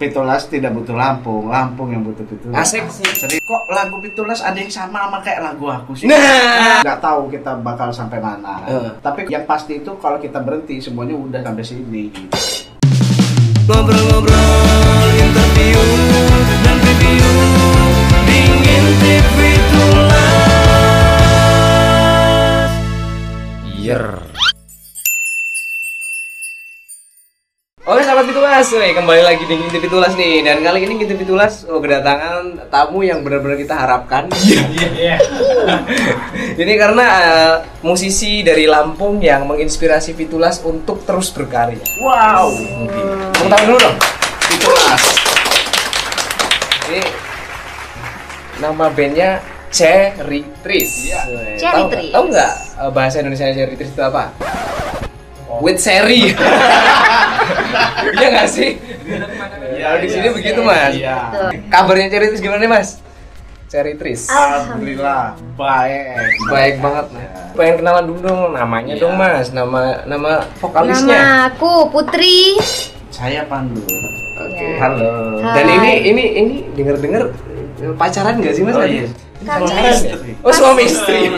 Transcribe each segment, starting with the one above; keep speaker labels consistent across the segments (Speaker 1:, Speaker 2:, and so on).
Speaker 1: Pitulas tidak butuh Lampung, Lampung yang butuh Pitulas.
Speaker 2: Asik sih.
Speaker 1: Jadi kok lagu Pitulas ada yang sama sama kayak lagu aku sih?
Speaker 2: Nah.
Speaker 1: nggak tahu kita bakal sampai mana.
Speaker 2: Eh.
Speaker 1: Tapi yang pasti itu kalau kita berhenti semuanya udah sampai sini.
Speaker 2: Ngobrol-ngobrol, interview dan review dingin TV tulas. Yer. Oke sahabat Pitulas, Wih, kembali lagi di Ngintip Pitulas nih Dan kali ini Ngintip Pitulas oh, kedatangan tamu yang benar-benar kita harapkan Iya. Ini karena eh, musisi dari Lampung yang menginspirasi Pitulas untuk terus berkarya
Speaker 1: Wow.
Speaker 2: Tepuk tangan dulu dong
Speaker 1: Pitulas.
Speaker 2: Ini nama bandnya Ceritris.
Speaker 1: Iya.
Speaker 2: Weh,
Speaker 3: Ceritris.
Speaker 2: Tahu nggak eh, bahasa Indonesia Ceritris itu apa?
Speaker 1: Oh.
Speaker 2: With seri. Iya nggak sih? Kalau di sini begitu mas.
Speaker 1: Iya.
Speaker 3: Betul.
Speaker 2: Kabarnya Ceritris gimana nih mas? Ceritris.
Speaker 1: Alhamdulillah baik.
Speaker 2: Baik banget mas. Pengen kenalan dulu dong namanya
Speaker 1: Iya.
Speaker 2: dong mas. Nama nama vokalisnya.
Speaker 3: Nama aku Putri.
Speaker 1: Saya Pandu.
Speaker 2: Oke.
Speaker 3: Iya.
Speaker 2: Halo.
Speaker 3: Hai.
Speaker 2: Dan ini ini ini denger dengar pacaran nggak sih mas?
Speaker 1: Oh, iya.
Speaker 3: Kakak.
Speaker 2: Pacaran ya? Oh suami istri.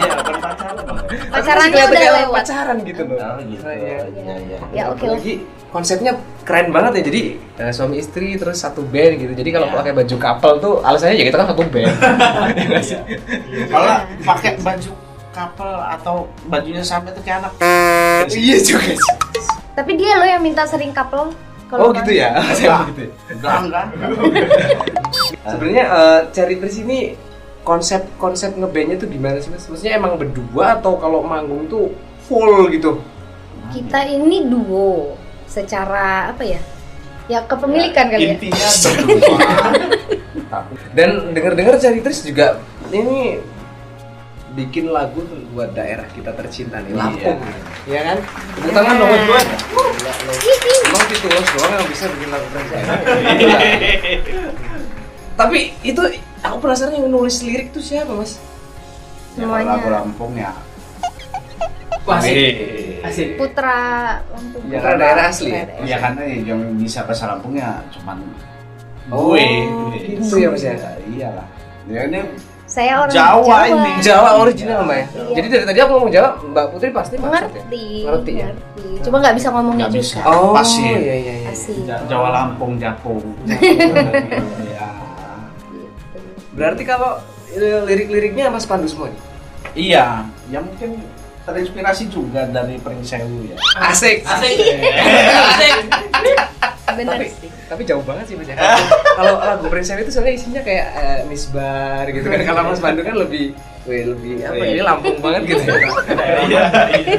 Speaker 3: Pacarannya
Speaker 2: Kelihatannya
Speaker 3: udah
Speaker 2: kayak
Speaker 3: lewat.
Speaker 2: pacaran gitu loh.
Speaker 1: Oh, gitu. Iya,
Speaker 2: Iya.
Speaker 1: iya.
Speaker 3: Ya oke lah.
Speaker 2: Apalagi konsepnya keren banget ya jadi eh, suami istri terus satu band gitu. Jadi kalau
Speaker 1: Iya.
Speaker 2: pakai baju couple tuh alasannya ya kita kan satu band. Iya nggak sih?
Speaker 1: Kalau pakai baju couple atau bajunya sama itu kayak anak.
Speaker 2: Iya juga sih.
Speaker 3: Tapi dia lo yang minta sering couple.
Speaker 2: Oh gitu ya. Alasannya begitu ya.
Speaker 1: Enggak, enggak.
Speaker 2: Sebenarnya eh, Ceritris ini konsep-konsep ngebandnya tuh gimana sih mas? Maksudnya emang berdua atau kalau manggung tuh full gitu?
Speaker 3: Kita ini duo secara apa ya? Ya kepemilikan kali ya.
Speaker 1: Intinya berdua.
Speaker 2: Dan denger-dengar Ceritris juga ini bikin lagu tuh buat daerah kita tercinta nih Lampung. Iya kan? Tepuk tangan dong buat gue. Emang Pitulas doang yang bisa bikin lagu keren saya. Gila. Tapi itu aku penasaran yang nulis lirik tuh siapa mas?
Speaker 1: Ya, kalau
Speaker 3: Semuanya.
Speaker 1: lagu Lampung ya.
Speaker 2: Asik.
Speaker 3: Putra Lampung.
Speaker 2: Ya, karena daerah asli ya?
Speaker 1: Ya karena yang bisa bahasa Lampung ya cuman
Speaker 2: Oh,
Speaker 1: gue.
Speaker 2: gitu ya, Mas, ya?
Speaker 1: Iyalah. Ya ini
Speaker 3: Saya orang
Speaker 1: Jawa
Speaker 3: Jawa.
Speaker 1: ini.
Speaker 2: Jawa original mbak ya.
Speaker 3: Iya.
Speaker 2: Jadi dari tadi aku ngomong Jawa, Mbak Putri pasti maksud ya.
Speaker 3: Ngerti.
Speaker 2: Ngerti ya.
Speaker 3: ngerti. Cuma nggak bisa ngomongnya
Speaker 1: Nggak bisa.
Speaker 3: juga.
Speaker 2: Oh,
Speaker 1: Pas ya.
Speaker 2: iya iya iya.
Speaker 3: Asik.
Speaker 1: Ja- Jawa Lampung Japung. ya.
Speaker 3: Gitu.
Speaker 2: Berarti kalau eh, lirik-liriknya Mas Pandu semua nih?
Speaker 1: Iya, ya mungkin terinspirasi juga dari Pringsewu ya.
Speaker 2: Asik.
Speaker 3: Bener
Speaker 2: tapi,
Speaker 3: sih.
Speaker 2: tapi jauh banget sih mas ya. kalau lagu Prinsen itu soalnya isinya kayak eh, misbar gitu kan kalau mas Bandung kan lebih weh, lebih apa
Speaker 1: Iya.
Speaker 2: ya ini Lampung banget gitu ya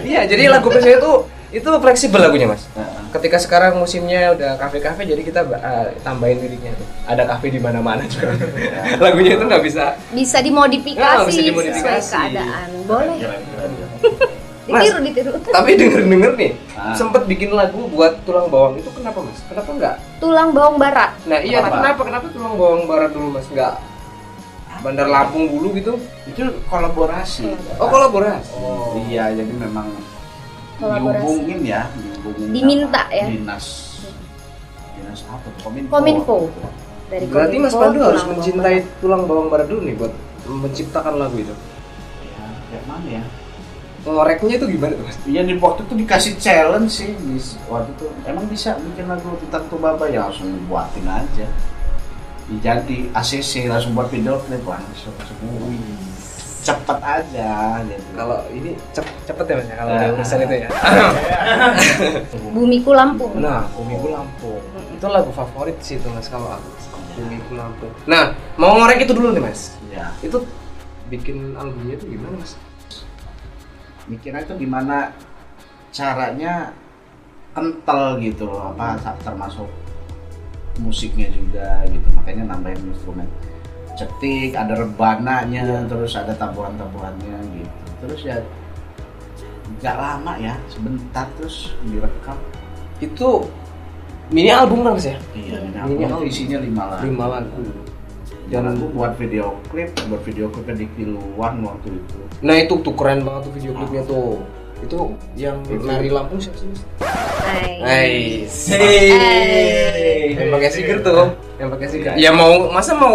Speaker 2: iya jadi lagu Prinsen itu itu fleksibel lagunya mas
Speaker 1: Nah,
Speaker 2: ketika sekarang musimnya udah kafe-kafe jadi kita eh, tambahin liriknya tuh ada kafe di mana-mana juga lagunya itu nggak bisa
Speaker 3: Bisa
Speaker 2: Nah,
Speaker 3: dimodifikasi,
Speaker 2: bisa dimodifikasi.
Speaker 3: sesuai keadaan. Boleh.
Speaker 1: keren, keren, keren.
Speaker 2: Mas.
Speaker 3: Ditiru, ditiru.
Speaker 2: tapi denger-denger nih
Speaker 1: Ah.
Speaker 2: sempet bikin lagu buat tulang bawang itu kenapa mas kenapa nggak
Speaker 3: Tulang bawang barat.
Speaker 2: nah iya
Speaker 1: Kenapa?
Speaker 2: kenapa kenapa tulang bawang barat dulu mas nggak Bandar Lampung dulu gitu
Speaker 1: Itu kolaborasi.
Speaker 2: Oh kolaborasi.
Speaker 1: Iya, jadi memang
Speaker 3: Kolaborasi.
Speaker 1: dihubungin ya, dihubungin
Speaker 3: Diminta
Speaker 1: sama
Speaker 3: ya.
Speaker 1: Dinas Dinas apa? tuh? Kominfo.
Speaker 3: Kominfo. Dari
Speaker 2: Berarti Mas
Speaker 3: Kominfo,
Speaker 2: Pandu harus
Speaker 3: tulang bawang
Speaker 2: mencintai tulang bawang barat dulu nih buat menciptakan lagu itu.
Speaker 1: Ya, kayak mana ya?
Speaker 2: Ngoreknya itu gimana tuh Mas?
Speaker 1: Iya di waktu itu dikasih challenge sih di waktu itu emang bisa bikin lagu tentang tuh baba ya langsung buatin aja dijadi ACC langsung buat video klip langsung semua cepet aja gitu.
Speaker 2: Kalau ini cep- cepet ya Mas ya, kalau
Speaker 1: Nah.
Speaker 2: ada urusan itu ya.
Speaker 3: barat. Bumiku Lampung.
Speaker 1: Hmm.
Speaker 2: Nah, Bumiku Lampung. Itu lagu favorit sih itu Mas kalau aku. Bumiku Lampung. Nah, mau ngorek itu dulu nih Mas.
Speaker 1: ya
Speaker 2: Itu bikin albumnya itu gimana Mas?
Speaker 1: mikirnya itu gimana caranya kental gitu loh apa termasuk musiknya juga gitu makanya nambahin instrumen cetik ada rebananya terus ada tabuhan-tabuhannya gitu terus ya nggak lama ya sebentar terus direkam
Speaker 2: Itu mini album kan Mas ya?
Speaker 1: iya ini
Speaker 2: Ini
Speaker 1: album
Speaker 2: album.
Speaker 1: isinya lima lagu
Speaker 2: Lima lagu.
Speaker 1: dan aku buat video klip buat video klipnya di Kiluan waktu itu
Speaker 2: Nah itu tuh keren banget tuh video klipnya tuh. Itu yang nari Lampung siapa sih? Mas? Eh.
Speaker 3: Hai.
Speaker 2: Nice.
Speaker 3: Hey.
Speaker 2: Yang pakai stiker tuh, yang pakai stiker. Ya mau masa mau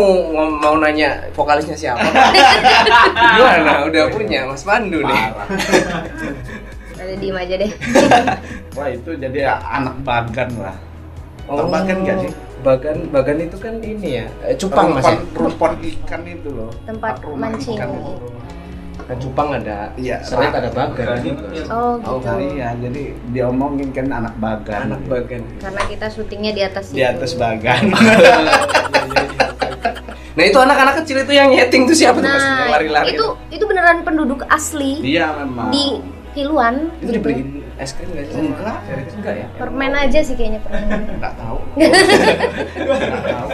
Speaker 2: mau nanya vokalisnya siapa? Iya. Gimana? Udah punya Mas Pandu nih.
Speaker 1: Parah.
Speaker 3: Udah diem aja deh.
Speaker 1: Wah itu jadi anak bagan lah. Tau bagan nggak sih?
Speaker 2: Bagan bagan itu kan ini ya, eh, cupang Mas ya?
Speaker 1: Rumpon- rumpon ikan itu loh.
Speaker 3: Tempat
Speaker 1: Rumah
Speaker 3: mancing.
Speaker 1: ikan itu.
Speaker 2: Kan cupang ada,
Speaker 1: Iya,
Speaker 2: seret
Speaker 1: rak-
Speaker 2: ada bagan
Speaker 4: rak-
Speaker 2: juga.
Speaker 3: Oh
Speaker 1: Oh,
Speaker 3: gitu.
Speaker 1: iya, jadi diomongin kan anak bagan.
Speaker 2: Anak bagan.
Speaker 3: Karena kita syutingnya di atas
Speaker 1: Di atas bagan.
Speaker 2: Nah itu anak-anak kecil itu yang nyeting tuh siapa tuh Mas? Yang
Speaker 3: Nah,
Speaker 2: lari-lari
Speaker 3: itu itu beneran penduduk asli
Speaker 1: Iya memang.
Speaker 3: di Kiluan.
Speaker 2: itu
Speaker 3: gitu.
Speaker 2: dibeliin es krim nggak sih?
Speaker 1: Enggak.
Speaker 2: enggak ya.
Speaker 3: Permen aja sih kayaknya permen.
Speaker 1: Nggak tahu. Nggak tahu.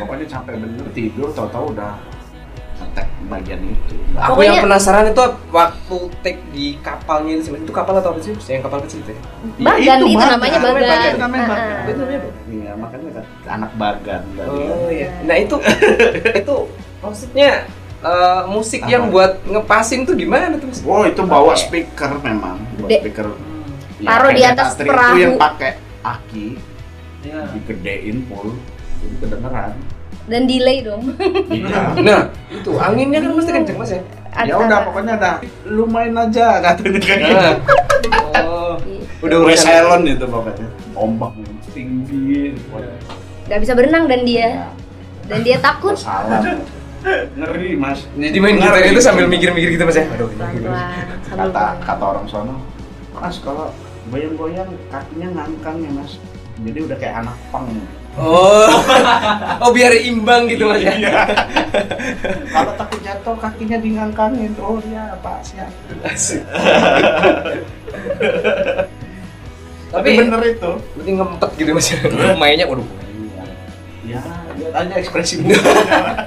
Speaker 1: Pokoknya capek bener tidur, tahu-tahu udah ngetek bagian itu. Nggak-
Speaker 2: Aku
Speaker 3: Pokoknya-
Speaker 2: yang penasaran itu waktu take di kapalnya itu itu kapal atau apa sih? Yang kapal kecil itu. ya?
Speaker 3: Bagan,
Speaker 1: Ya,
Speaker 3: itu namanya
Speaker 1: Namanya
Speaker 3: bagan.
Speaker 1: namanya
Speaker 3: Ah,
Speaker 1: bagan.
Speaker 3: ah.
Speaker 2: Itu namanya apa?
Speaker 1: Iya, makanya kan anak bagan tadi.
Speaker 2: Oh iya. Nah itu itu maksudnya eh, musik
Speaker 1: Apa?
Speaker 2: yang buat ngepasin tuh gimana tuh mas?
Speaker 1: Wow, itu bawa speaker memang, bawa
Speaker 3: Gede.
Speaker 1: speaker. ya,
Speaker 3: Taruh di
Speaker 1: kayak
Speaker 3: atas
Speaker 1: Tatri
Speaker 3: perahu.
Speaker 1: Itu yang pakai aki,
Speaker 4: Iya.
Speaker 1: digedein full, jadi kedengeran.
Speaker 3: Dan delay dong.
Speaker 1: Iya.
Speaker 2: Nah itu anginnya kan mesti kenceng mas ya.
Speaker 1: ya udah pokoknya dah lu main aja katanya
Speaker 2: Nah.
Speaker 1: kayak
Speaker 2: Oh.
Speaker 3: Iya.
Speaker 2: Udah
Speaker 1: gitu. Iya. Wes
Speaker 2: urusan
Speaker 1: Elon itu pokoknya ombak yang tinggi
Speaker 3: Gak bisa berenang
Speaker 1: Iya.
Speaker 3: dan dia dan dia takut.
Speaker 1: salah ngeri mas
Speaker 2: Jadi main gitar
Speaker 1: Ngeri.
Speaker 2: itu sambil mikir-mikir gitu mas ya. Aduh. gimana, gimana.
Speaker 3: Pelan-pelan. sambil
Speaker 1: kata
Speaker 3: pelan.
Speaker 1: kata orang sono mas kalau goyang-goyang kakinya ngangkang ya mas jadi udah kayak anak pang
Speaker 2: Oh. Oh biar imbang gitu mas
Speaker 1: Iya.
Speaker 2: ya.
Speaker 1: kalau takut jatuh kakinya dingangkangin oh iya pak siap tapi
Speaker 2: Tapi
Speaker 1: bener itu
Speaker 2: berarti ngempet gitu mas ya. Mainnya waduh. Iya.
Speaker 1: ya lihat aja ekspresi mukanya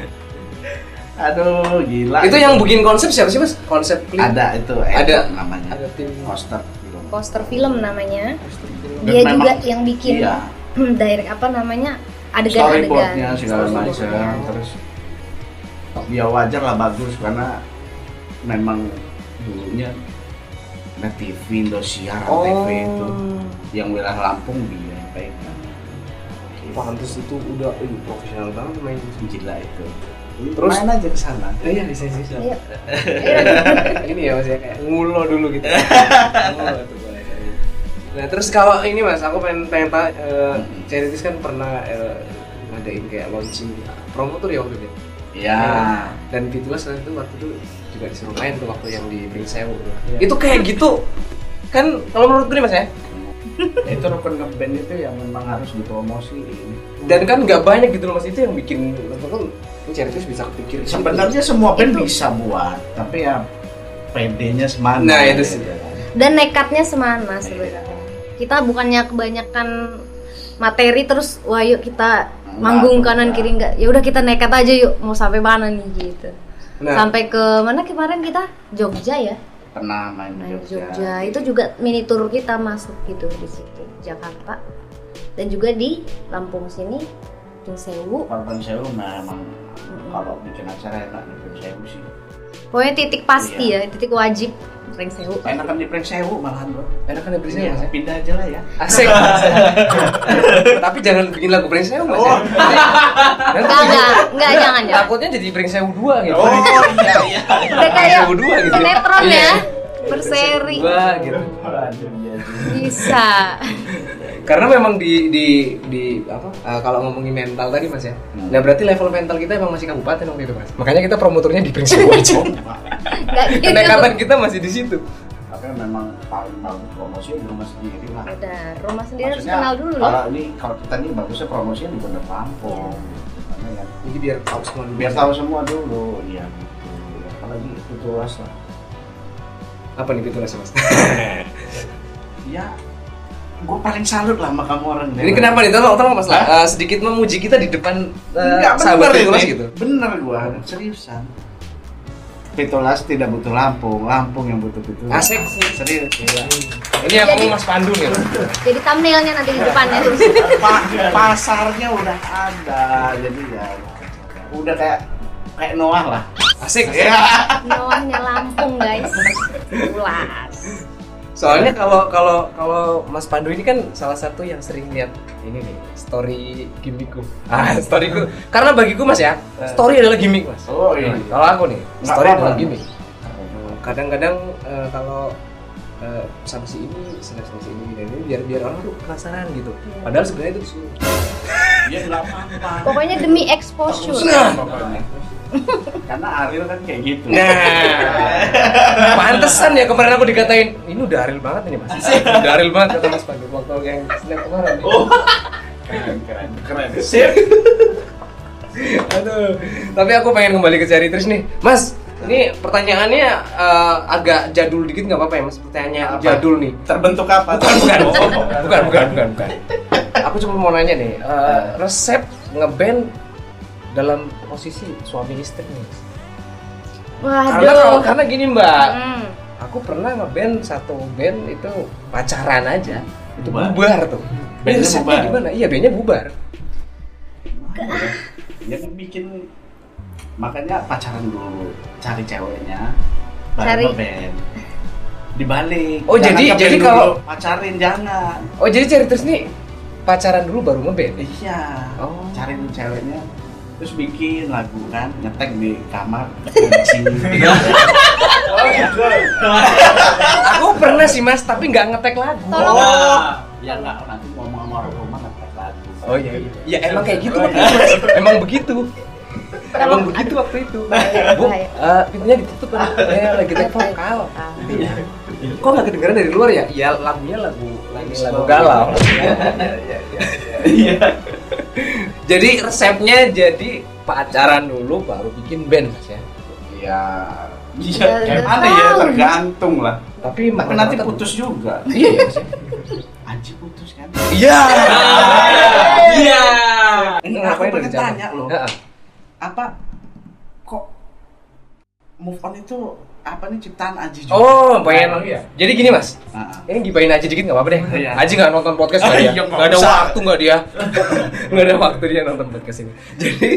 Speaker 1: aduh gila
Speaker 2: Itu yang bikin konsep siapa sih mas? Konsep Lin.
Speaker 1: ada itu
Speaker 2: gitu. Ada.
Speaker 1: Edward namanya
Speaker 2: Ada tim.
Speaker 1: poster
Speaker 3: Poster film namanya.
Speaker 1: Poster.
Speaker 3: Dia
Speaker 1: Dan
Speaker 3: juga
Speaker 1: memang-
Speaker 3: yang bikin
Speaker 1: iya
Speaker 3: Hmm, direct apa namanya adegan-adegan.
Speaker 1: storyboardnya segala macam terus ya wajar lah bagus karena memang dulunya Net TV Indosiar
Speaker 2: Oh.
Speaker 1: TV itu
Speaker 3: Oh.
Speaker 1: yang wilayah Lampung dia yang pegang
Speaker 2: Pantes itu udah ini profesional banget main.
Speaker 1: gila itu
Speaker 2: Terus-
Speaker 1: main aja ke sana
Speaker 2: Iya bisa sih.
Speaker 3: Ayo.
Speaker 2: Ini ya mas ya kayak ngulo dulu gitu. Ngulo tuh boleh. Nah terus kalau ini mas, aku pengen pengen tanya, eh, Charities kan pernah eh, ngadain kayak launching promotor ya waktu itu. ya?
Speaker 1: ya
Speaker 2: Dan Fitulas itu waktu itu juga disuruh main tuh waktu yang di Bringsewu.
Speaker 1: Ya.
Speaker 2: Itu kayak gitu kan kalau menurut gue nih mas ya,
Speaker 1: itu rukun ngeband itu yang memang harus dipromosiin
Speaker 2: dan kan nggak banyak gitu loh mas itu yang bikin maksudku ini Charities bisa kepikir gitu.
Speaker 1: sebenarnya semua band
Speaker 3: Itu.
Speaker 1: bisa buat tapi ya PD-nya semana ya, kan?
Speaker 2: Nah, itu sih.
Speaker 3: Dan nekatnya semana
Speaker 1: Iya.
Speaker 3: sebenarnya. Kita bukannya kebanyakan materi terus wah yuk kita manggung kanan
Speaker 1: enggak.
Speaker 3: kiri enggak. Ya udah kita nekat aja yuk mau sampai mana nih gitu.
Speaker 2: Nah.
Speaker 3: Sampai ke mana kemarin kita Jogja ya?
Speaker 1: pernah main
Speaker 3: Nah,
Speaker 1: di Jogja,
Speaker 3: Jogja. Itu juga mini tour kita masuk gitu di situ Jakarta. Dan juga di Lampung sini di Sewu.
Speaker 1: Korban Sewu memang kalau bikin acara enak di Prank Sewu sih
Speaker 3: Pokoknya titik pasti
Speaker 1: Iya.
Speaker 3: ya, titik wajib Reng Sewu.
Speaker 1: enakan di Prank Sewu malahan bro
Speaker 2: enak kan Bringsewu
Speaker 1: Iya,
Speaker 2: mas ya?
Speaker 1: pindah aja lah ya
Speaker 2: Asik. Tapi jangan bikin lagu Bringsewu Mas.
Speaker 1: Oh.
Speaker 2: ya. Nanti
Speaker 3: Enggak, enggak, enggak, jangan, jangan.
Speaker 2: takutnya jadi Bringsewu 2 gitu.
Speaker 1: iya iya
Speaker 3: Udah kayak
Speaker 2: Sewu dua gitu.
Speaker 3: sinetron
Speaker 2: Iya.
Speaker 3: ya, berseri.
Speaker 2: 2 gitu.
Speaker 1: iya,
Speaker 3: Bisa.
Speaker 2: Karena memang di di di apa? eh, kalau ngomongin mental tadi Mas ya. Nah, berarti level mental kita emang masih kabupaten waktu itu Mas. Makanya kita promotornya di Bringsewu
Speaker 1: Iya,
Speaker 2: aja.
Speaker 3: Enggak gitu.
Speaker 2: Kedekatan kita masih di situ.
Speaker 1: tapi memang paling bagus promosi di rumah sendiri lah
Speaker 3: Ada rumah sendiri harus
Speaker 1: Maksudnya,
Speaker 3: kenal dulu
Speaker 1: kalau
Speaker 3: loh.
Speaker 1: ini kalau kita nih bagusnya promosinya di Bandar Lampung
Speaker 3: Iya.
Speaker 1: Karena ya,
Speaker 2: Jadi biar tahu semua dulu.
Speaker 1: biar tahu semua dulu iya gitu apalagi itu luas lah
Speaker 2: apa nih gitu Mas.
Speaker 1: ya gue paling salut lah sama kamu orang
Speaker 2: Ini kenapa nih? Tolong tolong Mas lah. eh, sedikit memuji kita di depan eh,
Speaker 1: Enggak,
Speaker 2: sahabat
Speaker 1: bener
Speaker 2: gitu Mas
Speaker 1: ini.
Speaker 2: gitu.
Speaker 1: Bener gua, seriusan. Pitulas tidak butuh Lampung, Lampung yang butuh Iya. Pitulas.
Speaker 2: Asik sih.
Speaker 1: serius gila.
Speaker 2: Ini yang ngomong Mas Pandu nih.
Speaker 3: Jadi thumbnailnya nanti di
Speaker 2: Iya.
Speaker 3: depan ya.
Speaker 1: Pa- pasarnya udah ada, jadi ya udah kayak kayak Noah lah.
Speaker 2: Asik ya.
Speaker 3: Nyolahnya Lampung guys. Pulas.
Speaker 2: Soalnya kalau kalau kalau Mas Pandu ini kan salah satu yang sering lihat ini nih story gimmickku. Ah, storyku. Karena bagiku Mas ya, story adalah gimmick Mas.
Speaker 1: Oh iya.
Speaker 2: Nah, Kalau aku nih,
Speaker 1: Nggak
Speaker 2: story
Speaker 1: apa-apa.
Speaker 2: adalah gimmick. Kadang-kadang eh, kalau eh, sama si ini, sama si ini, dan ini biar biar orang tuh penasaran gitu. Padahal sebenarnya itu disuruh.
Speaker 1: Dia Iya, nggak apa-apa.
Speaker 3: Pokoknya demi exposure.
Speaker 2: Nah.
Speaker 1: Pokoknya. Karena Ariel kan kayak gitu.
Speaker 2: Nah, pantesan ya kemarin aku dikatain ini udah Ariel banget ini mas. Udah Ariel banget kata Mas Pandu waktu yang snap kemarin.
Speaker 1: Oh. Keren, keren, keren. Sip.
Speaker 2: Aduh, tapi aku pengen kembali ke Cari Tris nih, Mas. Ini pertanyaannya eh, agak jadul dikit nggak apa-apa ya, Mas? Pertanyaannya
Speaker 1: Apa?
Speaker 2: jadul nih.
Speaker 1: Terbentuk apa?
Speaker 2: Bukan, bukan,
Speaker 1: Oh,
Speaker 2: bukan, bukan, bukan, bukan, bukan. Aku cuma mau nanya nih, eh, resep ngeband dalam posisi suami istri nih. Karena kalau
Speaker 3: Waduh.
Speaker 2: karena gini Mbak,
Speaker 3: Hmm.
Speaker 2: aku pernah ngeband satu band itu pacaran aja, itu
Speaker 1: Bubar.
Speaker 2: bubar, tuh.
Speaker 1: Bandnya
Speaker 2: Ini resepnya
Speaker 1: bubar.
Speaker 2: gimana? Iya, bandnya bubar.
Speaker 1: Dia kan bikin makanya pacaran dulu cari ceweknya baru
Speaker 3: Cari.
Speaker 1: ngeband. dibalik
Speaker 2: Oh,
Speaker 1: Jangan
Speaker 2: jadi-
Speaker 1: ngeband
Speaker 2: jadi
Speaker 1: dulu,
Speaker 2: kalau-
Speaker 1: pacarin jangan
Speaker 2: Oh jadi Cari Tris nih pacaran dulu baru ngeband.
Speaker 1: iya
Speaker 2: Oh.
Speaker 1: cari ceweknya terus bikin lagu kan ngetek di kamar kunci
Speaker 2: Iya.
Speaker 1: oh gitu
Speaker 2: aku pernah sih mas tapi nggak ngetek lagu
Speaker 3: Tolong.
Speaker 1: oh ya nggak nanti ngomong sama orang rumah ngetek lagu
Speaker 2: oh iya iya ya emang kayak gitu waktu itu, Mas. emang begitu emang begitu waktu itu bu
Speaker 3: Bahaya.
Speaker 2: eh, pintunya ditutup kan ya lagi tek vokal
Speaker 3: Ah.
Speaker 2: kok nggak kedengeran dari luar ya ya lagunya lagu lagu, lagu galau
Speaker 1: iya
Speaker 2: jadi resepnya jadi pacaran dulu baru bikin band mas ya
Speaker 1: iya iya
Speaker 3: Udah- udah
Speaker 1: gimana ya
Speaker 3: tahu.
Speaker 1: tergantung lah
Speaker 2: tapi
Speaker 1: tapi nanti putus juga
Speaker 2: iya iya, Mas, ya.
Speaker 1: Anji putus kan
Speaker 2: iya iya
Speaker 1: Ini aku
Speaker 2: Ngapain
Speaker 1: pengen
Speaker 2: dari zaman?
Speaker 1: tanya loh.
Speaker 2: Heeh.
Speaker 1: apa kok move on itu apa nih ciptaan Aji juga? Nah,
Speaker 2: oh pengen
Speaker 1: iya.
Speaker 2: jadi gini mas
Speaker 1: Ah,
Speaker 2: Ini gibain aja dikit gak apa-apa deh.
Speaker 1: Iya.
Speaker 2: Aji gak nonton podcast
Speaker 1: Ah,
Speaker 2: tadi ya.
Speaker 1: iya, nggak
Speaker 2: Gak ada
Speaker 1: usah.
Speaker 2: waktu gak dia. gak ada waktu dia nonton podcast ini. Jadi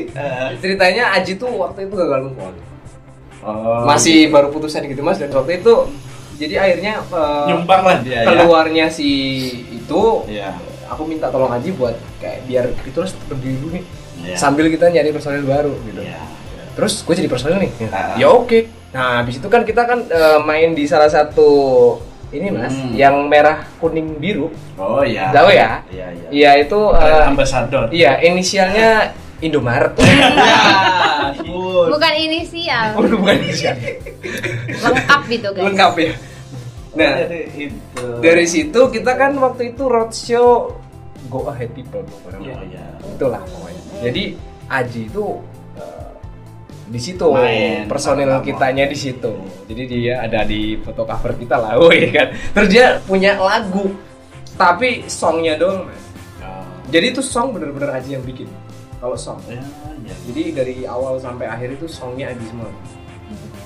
Speaker 2: ceritanya Aji tuh waktu itu gagal move on.
Speaker 1: oh.
Speaker 2: Masih baru putusan gitu mas dan waktu itu jadi akhirnya eh,
Speaker 1: nyumbang lah dia ya.
Speaker 2: keluarnya si itu
Speaker 1: Iya.
Speaker 2: aku minta tolong Aji buat kayak biar itu harus berdiri dulu nih
Speaker 1: Iya.
Speaker 2: sambil kita nyari personil baru gitu.
Speaker 1: Iya.
Speaker 2: Terus gue jadi personil nih.
Speaker 1: Ah.
Speaker 2: Ya oke. Nah, habis itu kan kita kan eh, main di salah satu ini mas
Speaker 1: Hmm.
Speaker 2: yang merah kuning biru
Speaker 1: Oh iya.
Speaker 2: Tahu ya?
Speaker 1: Iya iya.
Speaker 2: Iya itu
Speaker 1: Brand
Speaker 2: eh,
Speaker 1: Ambassador.
Speaker 2: iya inisialnya Indomaret.
Speaker 1: Good.
Speaker 3: Bukan inisial,
Speaker 2: Waduh Oh, bukan inisial.
Speaker 3: lengkap gitu guys.
Speaker 2: Lengkap ya. Nah,
Speaker 1: Jadi Iya. itu.
Speaker 2: dari situ kita kan waktu itu roadshow Go Ahead People pokoknya.
Speaker 1: Iya iya.
Speaker 2: Itulah pokoknya. Jadi Aji itu eh, di situ
Speaker 1: Main
Speaker 2: personil
Speaker 1: pertama.
Speaker 2: kitanya di situ. Jadi dia ada di foto cover kita lah, woi kan. Terus dia punya lagu tapi songnya doang, Mas. Jadi itu song bener-bener Aji yang bikin. Kalau song.
Speaker 1: Ya, ya.
Speaker 2: Jadi dari awal sampai akhir itu songnya Adi semua.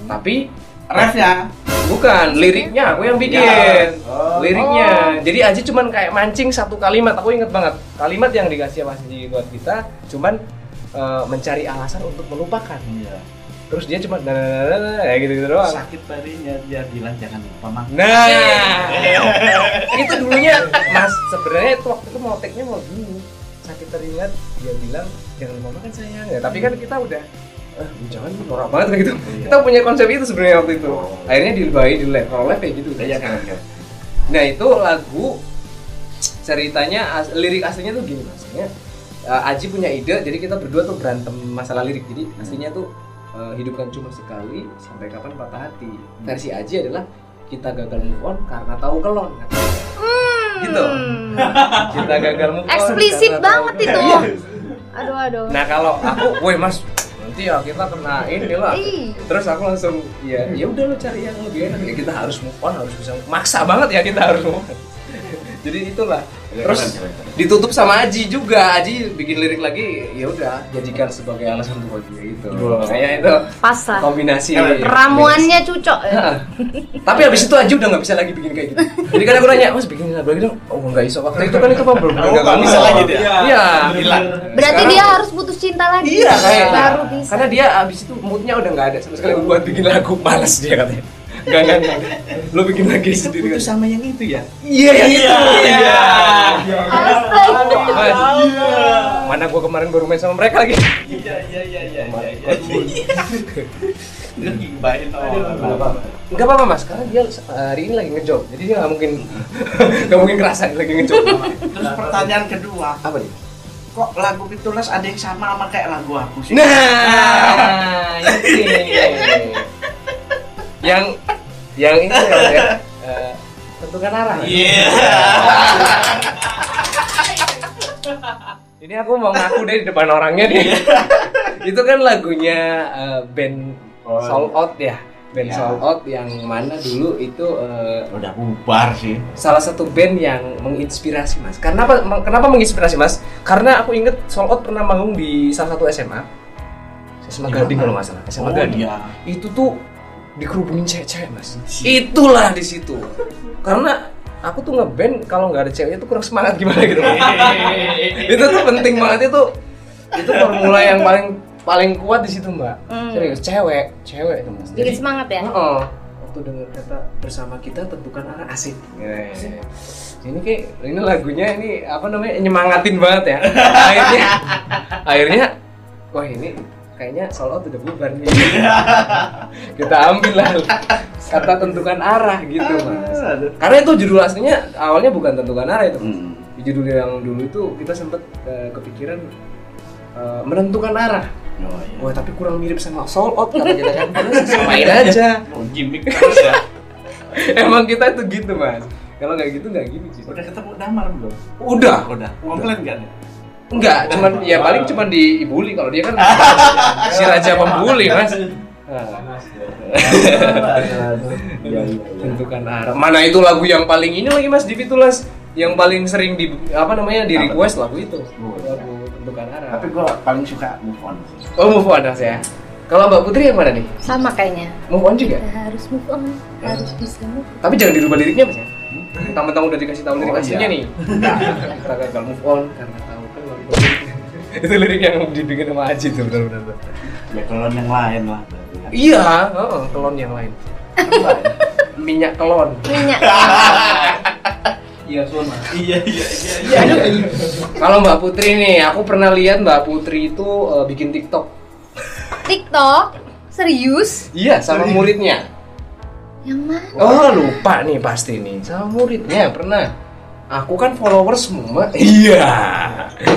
Speaker 2: Tapi
Speaker 1: Refnya.
Speaker 2: bukan liriknya aku yang bikin.
Speaker 1: Ya. Oh.
Speaker 2: Liriknya. Jadi Aji cuman kayak mancing satu kalimat. Aku inget banget kalimat yang dikasih sama Aji buat kita cuman eh, mencari alasan untuk melupakan.
Speaker 1: Iya.
Speaker 2: Terus dia cuma "Nah, nah, nah, nah, nah," ya gitu-gitu doang.
Speaker 1: Sakit tadinya dia bilang jangan lupa makan.
Speaker 2: Nah,
Speaker 1: Nah.
Speaker 2: itu dulunya Mas sebenarnya itu waktu itu mau take-nya mau gini. Sakit teringat dia bilang jangan mama kan sayang ya. Tapi kan kita udah eh, jangan norak banget kayak gitu.
Speaker 1: Iya.
Speaker 2: Kita punya konsep itu sebenarnya waktu itu.
Speaker 1: Oh.
Speaker 2: Akhirnya dilubahi di live, kalau live kayak gitu.
Speaker 1: Iya kan kan.
Speaker 2: Nah itu lagu ceritanya as- lirik aslinya tuh gini maksudnya eh, Aji punya ide jadi kita berdua tuh berantem masalah lirik jadi aslinya tuh eh, hidup kan cuma sekali sampai kapan patah hati versi Aji adalah kita gagal move on karena tahu kelon gitu
Speaker 3: Hmm.
Speaker 2: kita gagal move on
Speaker 3: Eksplisit
Speaker 2: karena
Speaker 3: banget
Speaker 2: tahu
Speaker 3: itu.
Speaker 2: kelon.
Speaker 3: Aduh aduh.
Speaker 2: iya, nah kalau aku woi mas nanti ya kita kena ini lah
Speaker 3: Ih.
Speaker 2: terus aku langsung ya ya udah lo cari yang lebih enak ya kita harus move on harus bisa maksa banget ya kita harus move on jadi itulah
Speaker 1: Iya,
Speaker 2: terus
Speaker 1: keren, keren.
Speaker 2: ditutup sama Aji juga Aji bikin lirik lagi ya udah jadikan sebagai alasan untuk bahagia gitu
Speaker 1: Wow.
Speaker 2: kayak itu
Speaker 3: Pas lah.
Speaker 2: kombinasi
Speaker 1: Keren.
Speaker 3: Ramuannya cocok. ya.
Speaker 2: Hah. tapi habis itu Aji udah nggak bisa lagi bikin kayak gitu jadi kan aku nanya mas bikin lagu lagi dong oh nggak bisa waktu itu kan itu kan belum
Speaker 1: Kamu
Speaker 2: nggak
Speaker 1: nggak
Speaker 2: bisa
Speaker 1: bisa
Speaker 2: lagi
Speaker 1: gitu ya?
Speaker 2: iya
Speaker 1: Gila.
Speaker 3: Berarti
Speaker 2: Sekarang-
Speaker 3: dia harus putus cinta lagi.
Speaker 2: Iya kayak
Speaker 3: Baru bisa.
Speaker 2: Karena dia abis itu moodnya udah nggak ada sama sekali buat bikin lagu males dia katanya. Gak gak gak. Lo bikin lagi sendiri. Itu sama yang itu ya. Iya yang itu. Iya.
Speaker 3: Astaga.
Speaker 2: Mana gua kemarin baru main sama mereka lagi.
Speaker 1: Iya iya iya iya iya.
Speaker 2: Enggak
Speaker 1: Dia gibahin orang.
Speaker 2: apa-apa mas, karena dia eh, hari ini lagi ngejob, jadi dia nggak mungkin nggak mungkin ngerasain lagi ngejob.
Speaker 1: Terus pertanyaan kedua,
Speaker 2: Apa nih?
Speaker 1: kok lagu Pitulas ada yang sama sama kayak lagu aku sih?
Speaker 2: Nah, ini. yang yang ini ya. eh, tentukan arah.
Speaker 1: Iya.
Speaker 2: Ini aku mau ngaku deh di depan orangnya nih. itu kan lagunya eh, band
Speaker 1: Oh,
Speaker 2: Soul Out ya. Band
Speaker 1: Iya.
Speaker 2: Soul Out yang mana dulu itu eh,
Speaker 1: Udah bubar sih.
Speaker 2: salah satu band yang menginspirasi Mas. Kenapa kenapa menginspirasi Mas? Karena aku inget Soul Out pernah manggung di salah satu SMA. SMA
Speaker 1: Di
Speaker 2: Gading
Speaker 1: mana?
Speaker 2: kalau nggak salah. SMA
Speaker 1: Oh,
Speaker 2: Gading.
Speaker 1: iya.
Speaker 2: Itu tuh dikerubungin cewek-cewek Mas. Itulah di situ. Karena aku tuh ngeband kalau nggak ada ceweknya tuh kurang semangat gimana gitu itu tuh penting banget itu itu formula yang paling paling kuat di situ mbak
Speaker 3: Hmm.
Speaker 2: serius cewek cewek itu mas
Speaker 3: Bikin semangat ya.
Speaker 2: oh, waktu dengar kata bersama kita tentukan arah asik Ya, ya, ya. ini kayak ini lagunya ini apa namanya nyemangatin banget ya akhirnya akhirnya wah ini kayaknya solo udah bubar nih kita ambil lah kata tentukan arah gitu mas karena itu judul aslinya awalnya bukan tentukan arah itu mas
Speaker 1: Hmm.
Speaker 2: di judul yang dulu itu kita sempat eh, kepikiran eh, menentukan arah.
Speaker 1: Oh, iya.
Speaker 2: Wah tapi kurang mirip sama soul out kata kita kan. Padahal Samain aja.
Speaker 1: Oh, gimmick terus ya.
Speaker 2: Emang kita itu gitu mas. Kalau nggak gitu nggak gini sih.
Speaker 1: Udah ketemu Damar belum?
Speaker 2: Udah.
Speaker 1: Udah. Komplain kan?
Speaker 2: Enggak, cuman ya paling cuman dibully kalau dia kan si raja pembuli mas. Nah,
Speaker 1: Iya, iya, iya.
Speaker 2: tentukan arah. Mana itu lagu yang paling ini lagi mas di Fitulas yang paling sering di apa namanya di
Speaker 1: Apa?
Speaker 2: request lagu itu.
Speaker 1: Oh, iya.
Speaker 2: Lagu tentukan arah.
Speaker 1: Tapi gua paling suka move on sih.
Speaker 2: Oh move on Mas, ya. Kalau Mbak Putri yang mana nih?
Speaker 3: Sama kayaknya.
Speaker 2: Move on juga?
Speaker 3: Kita harus move on, harus bisa move. on.
Speaker 2: Tapi jangan dirubah liriknya mas ya. Mentang-mentang udah dikasih tahu lirik
Speaker 1: Oh,
Speaker 2: aslinya
Speaker 1: iya.
Speaker 2: nih. Kita gagal move on karena tahu kan lagu liriknya. itu lirik yang dibikin sama Aji tuh benar-benar.
Speaker 1: Background Ya, yang lain lah.
Speaker 2: Iya, heeh, kelon yang lain. Minyak kelon.
Speaker 3: Minyak.
Speaker 2: Iya, kelon.
Speaker 1: Iya iya
Speaker 2: Iya. Kalau Mbak Putri nih, aku pernah lihat Mbak Putri itu eh, bikin TikTok.
Speaker 3: TikTok serius?
Speaker 2: Iya, sama muridnya.
Speaker 3: Yang mana?
Speaker 2: Oh lupa nih pasti nih sama muridnya pernah. Aku kan followers semua. Iya.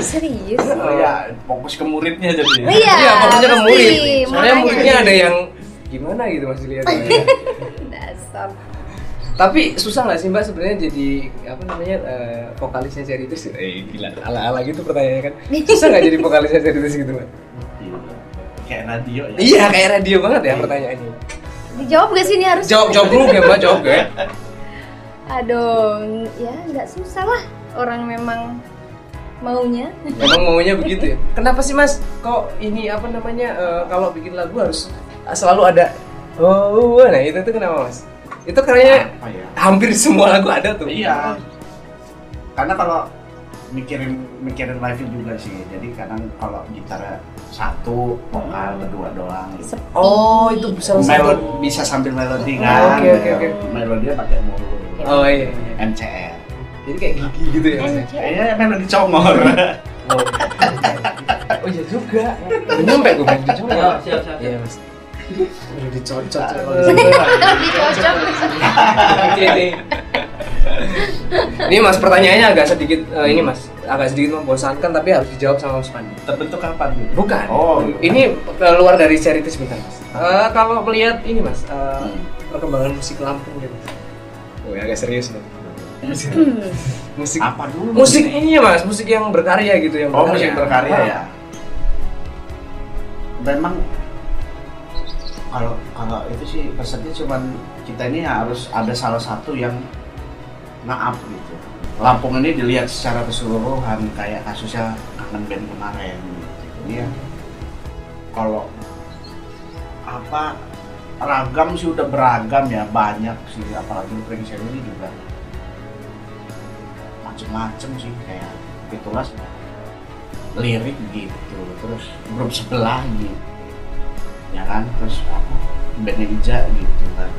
Speaker 3: Serius?
Speaker 1: Oh ya, fokus ke muridnya jadi.
Speaker 3: Iya,
Speaker 2: Iya pokoknya ke
Speaker 3: pasti,
Speaker 2: murid. Soalnya
Speaker 3: makanya.
Speaker 2: muridnya ada yang gimana gitu masih lihat.
Speaker 3: Dasar.
Speaker 2: Tapi susah nggak sih mbak sebenarnya jadi apa namanya eh, vokalisnya Ceritus? Eh gila ala ala gitu pertanyaannya kan. Susah nggak jadi vokalisnya Ceritus gitu mbak?
Speaker 1: Iya. Kayak radio ya.
Speaker 2: Iya kayak radio banget ya pertanyaannya.
Speaker 3: Dijawab gak sih ini harus?
Speaker 2: Jawab jawab dulu ya mbak jawab ya.
Speaker 3: Aduh, ya nggak susah lah. Orang memang maunya.
Speaker 2: Emang maunya begitu ya? Kenapa sih mas? Kok ini apa namanya eh, kalau bikin lagu harus selalu ada oh oh, oh." nah itu tuh kenapa mas? Itu kayaknya
Speaker 1: Apa ya?
Speaker 2: hampir semua lagu ada tuh.
Speaker 1: Iya. Karena kalau mikirin mikirin live juga sih. Jadi kadang kalau gitar satu,
Speaker 2: Hmm.
Speaker 1: vokal berdua doang. Gitu.
Speaker 3: Sepi.
Speaker 2: Oh itu salah
Speaker 1: Melod,
Speaker 2: satu.
Speaker 1: bisa sambil melodi
Speaker 2: Oh,
Speaker 1: kan.
Speaker 2: oke, oke, oke.
Speaker 1: Melodinya pakai mulu. gitu.
Speaker 2: Oh iya. iya.
Speaker 1: MCR.
Speaker 2: Jadi kayak gigi gitu ya mas? ya?
Speaker 3: NCM.
Speaker 1: Kayaknya melodi congor.
Speaker 2: Oh, oh iya juga. Belum nyampe gue belum dicoba. Siap siap. Iya mas. Udah dicocok. kalau gitu. di sini.
Speaker 3: Dicocok.
Speaker 2: Oke nih. Ini mas pertanyaannya agak sedikit eh, ini mas agak sedikit membosankan tapi harus dijawab sama Mas Pandu.
Speaker 1: Terbentuk kapan gitu?
Speaker 2: Bukan.
Speaker 1: Oh.
Speaker 2: Ini keluar dari charity sebentar mas. Eh, kalau melihat ini mas eh,
Speaker 1: Hmm.
Speaker 2: perkembangan musik Lampung gitu. Oh
Speaker 1: ya,
Speaker 2: agak serius nih. Musik
Speaker 1: Apa dulu?
Speaker 2: musik ini mas musik yang berkarya gitu yang
Speaker 1: Oh, musik berkarya ya. Memang kalau kalau itu sih pesannya cuman kita ini harus ada salah satu yang maaf gitu. Lampung ini dilihat secara keseluruhan kayak kasusnya kangen band kemarin ini ya kalau apa ragam sih udah beragam ya banyak sih apalagi Prince ini juga macem-macem sih kayak pitulas lirik gitu terus grup sebelah gitu ya kan terus apa bandnya Ija gitu kan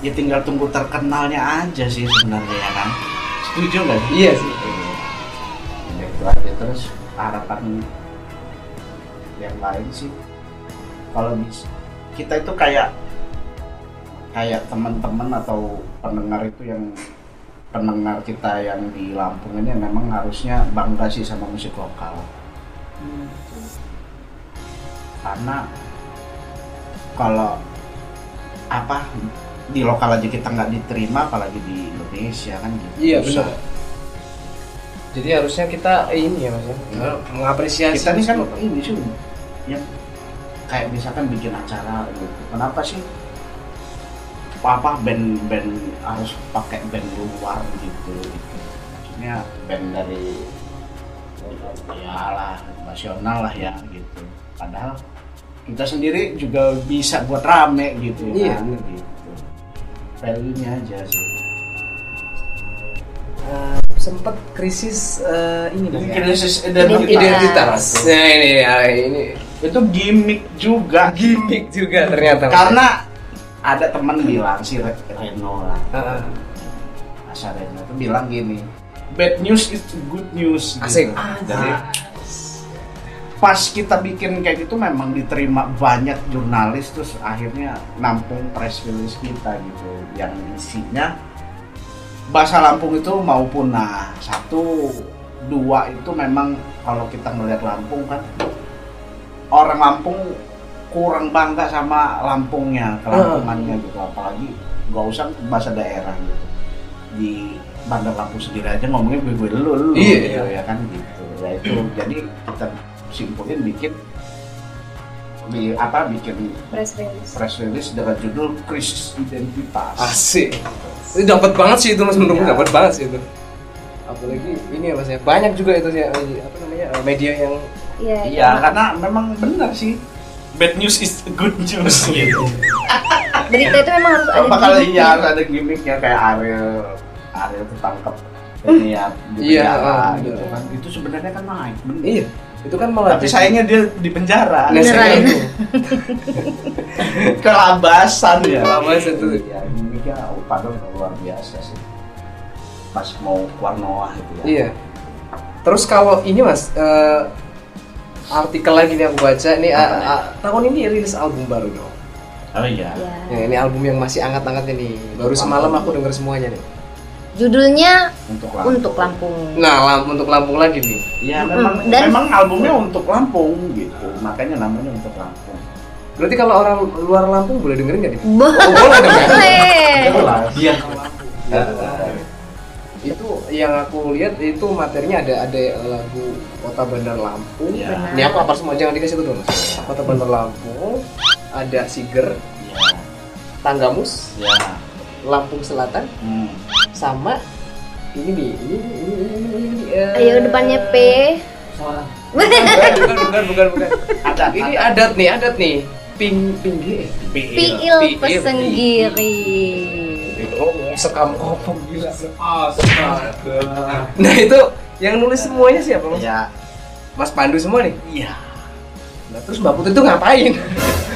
Speaker 1: ya tinggal tunggu terkenalnya aja sih sebenarnya ya kan setuju nggak sih?
Speaker 2: Iya sih.
Speaker 1: Ya, itu aja terus harapan yang lain sih kalau bisa kita itu kayak kayak teman-teman atau pendengar itu yang pendengar kita yang di Lampung ini memang harusnya bangga sih sama musik lokal Hmm. karena kalau apa di lokal aja kita nggak diterima apalagi di Indonesia kan gitu
Speaker 2: Iya
Speaker 1: Susah.
Speaker 2: benar. Jadi harusnya kita eh, ini ya mas ya
Speaker 1: Iya.
Speaker 2: mengapresiasi.
Speaker 1: kita nih kan
Speaker 2: musik.
Speaker 1: ini sih yang Iya. kayak misalkan bikin acara gitu kenapa sih apa band-band harus pakai band luar gitu gitu maksudnya band dari ya lah nasional lah ya gitu padahal kita sendiri juga bisa buat rame gitu
Speaker 2: Iya,
Speaker 1: kan
Speaker 2: bener.
Speaker 1: gitu value-nya aja sih
Speaker 2: Eh, sempet krisis eh, ini mas ya.
Speaker 1: krisis
Speaker 3: Identitas.
Speaker 2: Identitas. Nah ini ya, ini
Speaker 1: itu gimmick juga
Speaker 2: gimmick juga ternyata. Mas.
Speaker 1: karena ada teman bilang si Re- Reno lah
Speaker 2: Heeh.
Speaker 1: Asha Reno tuh bilang gini bad news is good news
Speaker 2: Asik.
Speaker 1: gitu. Jadi, pas kita bikin kayak gitu memang diterima banyak jurnalis terus akhirnya nampung press release kita gitu yang isinya bahasa Lampung itu maupun nah satu dua itu memang kalau kita melihat Lampung kan orang Lampung kurang bangga sama Lampungnya kelampungannya gitu apalagi gak usah bahasa daerah gitu di Bandar Lampung sendiri aja ngomongnya gue gue lu lu
Speaker 2: Iya,
Speaker 1: gitu ya kan gitu ya itu jadi kita simpulin bikin di apa bikin
Speaker 3: press release
Speaker 1: press release dengan judul krisis identitas
Speaker 2: Asik. Itu dapat banget sih itu mas menurutku
Speaker 1: Iya.
Speaker 2: dapat banget sih itu. Apalagi ini ya mas ya banyak juga itu ya apa namanya eh, media yang
Speaker 3: iya
Speaker 1: Iya, karena memang benar sih. Bad news is good news gitu.
Speaker 3: berita itu memang harus ada
Speaker 1: Bakal
Speaker 3: gimmick.
Speaker 1: iya harus ada gimmicknya kayak Ariel Ariel ketangkep ini ya di
Speaker 2: Iya,
Speaker 1: penjara
Speaker 2: ah,
Speaker 1: gitu
Speaker 2: bener.
Speaker 1: kan. Itu sebenarnya kan naik. bener.
Speaker 2: iya itu kan malah
Speaker 1: Tapi sayangnya dia di penjara. Iya,
Speaker 2: Nah,
Speaker 3: Beneran.
Speaker 2: sekarang-
Speaker 1: Kelabasan ya.
Speaker 2: Kelabasan tuh.
Speaker 1: Iya, gimmicknya oh, padahal luar biasa sih. Pas mau keluar Noah itu ya.
Speaker 2: Iya. Terus kalau ini mas, eh, artikel lagi nih aku baca, ini
Speaker 1: Apa
Speaker 2: ah,
Speaker 1: nih?
Speaker 2: ah, tahun ini rilis album baru dong.
Speaker 1: Oh iya.
Speaker 3: Iya.
Speaker 2: Ya, ini album yang masih hangat-hangat ini. Baru semalam aku denger semuanya nih.
Speaker 3: judulnya
Speaker 1: Untuk
Speaker 3: untuk Lampung
Speaker 2: Nah, Lam- untuk Lampung lagi nih.
Speaker 1: Ya
Speaker 3: Mm-mm.
Speaker 1: memang
Speaker 3: Dan-
Speaker 1: memang albumnya untuk Lampung gitu. Makanya namanya untuk Lampung.
Speaker 2: Berarti kalau orang luar Lampung boleh dengerin nggak nih?
Speaker 3: boleh
Speaker 2: Oh, boleh dong ya?
Speaker 3: Eh.
Speaker 1: Jelas. Iya.
Speaker 2: Ya, itu yang aku lihat itu materinya ada ada eh, lagu Kota Bandar Lampung.
Speaker 1: Iya.
Speaker 2: Ini aku apa semua jangan dikasih itu dong. Mas. Kota Bandar Lampung, ada Siger, Tanggamus,
Speaker 1: Ya.
Speaker 2: Lampung Selatan,
Speaker 1: Hmm.
Speaker 2: sama ini nih ini nih, ini nih, ini nih, ini nih, eh,
Speaker 3: ayo depannya P
Speaker 2: salah. bukan bukan bukan bukan Nah,
Speaker 1: Ada
Speaker 2: ini adat nih adat nih ping pinggir
Speaker 3: Piil
Speaker 2: Piil.
Speaker 3: pesenggiri
Speaker 2: oh sekam kopong gila astaga nah itu yang nulis semuanya siapa mas
Speaker 1: Ya.
Speaker 2: mas Pandu semua nih
Speaker 1: Iya.
Speaker 2: nah terus mbak Putri tuh ngapain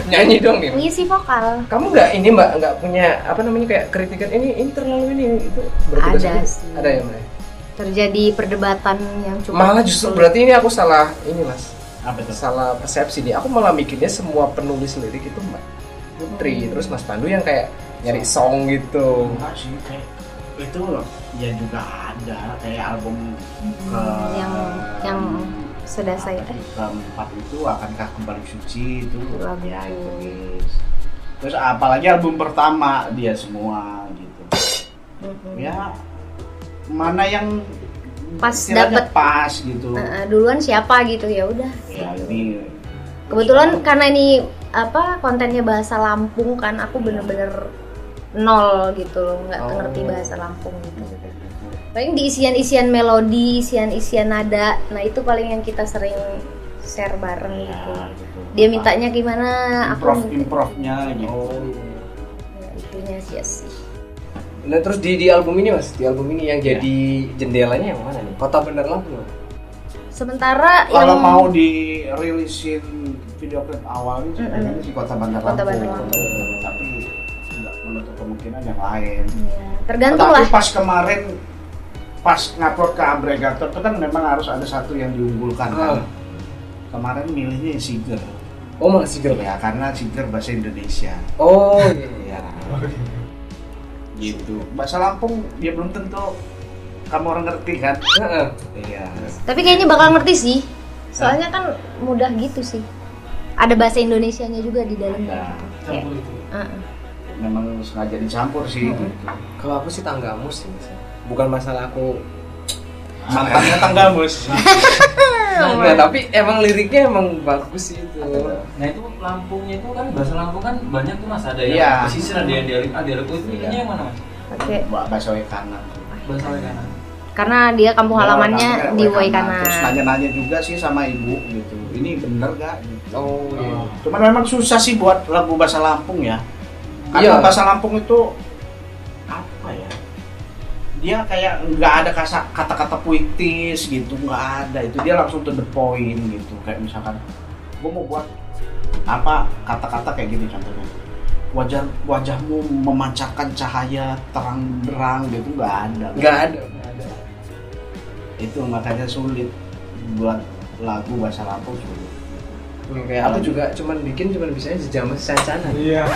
Speaker 2: nyanyi dong nih Mas.
Speaker 3: ngisi vokal
Speaker 2: kamu nggak ini mbak nggak punya apa namanya kayak kritikan ini ini terlalu ini itu bertugas
Speaker 3: Ada
Speaker 2: ini?
Speaker 3: sih.
Speaker 2: ada ya mbak ya?
Speaker 3: terjadi perdebatan yang cukup
Speaker 2: malah justru berarti ini aku salah ini mas
Speaker 1: Apa itu?
Speaker 2: salah persepsi nih aku malah mikirnya semua penulis lirik itu mbak
Speaker 3: Hmm.
Speaker 2: Putri terus Mas Pandu yang kayak nyari song gitu
Speaker 1: Enggak sih kayak itu ya juga ada kayak album ke
Speaker 3: Hmm, yang yang sudah saya eh
Speaker 1: keempat itu akankah kembali suci itu
Speaker 3: Itu lagu.
Speaker 1: ya itu guys. terus apalagi album pertama dia semua gitu
Speaker 3: mm-mm.
Speaker 2: Hmm.
Speaker 1: ya mana yang
Speaker 3: Pas
Speaker 1: istilahnya
Speaker 3: dapet.
Speaker 1: pas gitu
Speaker 3: Nah, duluan siapa gitu ya udah
Speaker 1: ya ini
Speaker 3: kebetulan karena ini apa kontennya bahasa Lampung kan aku bener-bener nol gitu loh nggak
Speaker 2: Oh.
Speaker 3: ngerti bahasa Lampung gitu paling di isian-isian melodi, isian-isian nada. Nah, itu paling yang kita sering share
Speaker 1: Ya,
Speaker 3: bareng
Speaker 2: Iya.
Speaker 3: gitu.
Speaker 1: gitu.
Speaker 3: Dia mintanya gimana,
Speaker 1: improv
Speaker 3: aku minta-
Speaker 1: improvnya gitu
Speaker 3: Oh.
Speaker 2: Oh.
Speaker 3: Ya, itunya sih ya sih.
Speaker 2: Nah terus di di album ini mas, di album ini yang
Speaker 3: Iya.
Speaker 2: jadi jendelanya yang mana nih? Kota Bandar Lampung.
Speaker 3: Sementara
Speaker 1: kalau
Speaker 3: yang
Speaker 1: mau dirilisin video klip awalnya sih
Speaker 3: Mm-mm.
Speaker 1: pengennya di kota Bandar Lampung,
Speaker 3: Kota Bandar Lampung.
Speaker 1: tapi nggak menutup kemungkinan yang lain
Speaker 3: Ya, tergantung
Speaker 1: tapi
Speaker 3: lah.
Speaker 1: pas kemarin pas ngupload ke agregator itu kan memang harus ada satu yang diunggulkan kan
Speaker 2: Ah.
Speaker 1: kemarin milihnya Siger
Speaker 2: Oh malah Siger ya?
Speaker 1: ya karena Siger bahasa Indonesia
Speaker 2: Oh iya. iya.
Speaker 1: gitu bahasa Lampung ya belum tentu kamu orang ngerti kan
Speaker 2: Heeh.
Speaker 1: iya
Speaker 3: Tapi kayaknya bakal ngerti sih. Soalnya kan mudah gitu sih. Ada bahasa Indonesianya juga di dalamnya.
Speaker 1: ada
Speaker 3: Kayak, ah, ah.
Speaker 1: memang sengaja dicampur sih gitu.
Speaker 2: Kalau aku sih tanggamu sih mas. Bukan masalah aku.
Speaker 1: mantannya tanggamus
Speaker 2: Nah, tapi emang liriknya emang bagus sih itu.
Speaker 4: Nah itu Lampungnya itu kan bahasa Lampung kan banyak tuh mas ada
Speaker 1: Iya.
Speaker 4: yang pesisir ada yang dialek ah dialek itu
Speaker 1: Iya.
Speaker 4: ini yang mana mas?
Speaker 3: Pakai
Speaker 1: bahasa Wekanan
Speaker 4: Bahasa kan? Wekana.
Speaker 3: karena dia kampung halamannya di
Speaker 1: Nah,
Speaker 3: Waikana.
Speaker 1: terus nanya-nanya juga sih sama ibu gitu ini bener gak gitu
Speaker 2: Oh iya.
Speaker 1: Cuman memang susah sih buat lagu bahasa Lampung ya. Karena
Speaker 2: Iya.
Speaker 1: bahasa Lampung itu apa ya? Dia kayak nggak ada kasa- kata-kata puitis gitu, nggak ada itu. Dia langsung to the point gitu. Kayak misalkan gue mau buat apa kata-kata kayak gini contohnya. Wajah wajahmu memancarkan cahaya terang benderang gitu nggak ada.
Speaker 2: Nggak ada. nggak ada.
Speaker 1: Itu makanya sulit buat lagu bahasa Lampung sulit.
Speaker 2: Hmm, Kayak aku juga cuman bikin cuman bisanya jejamas sancana.
Speaker 4: Iya.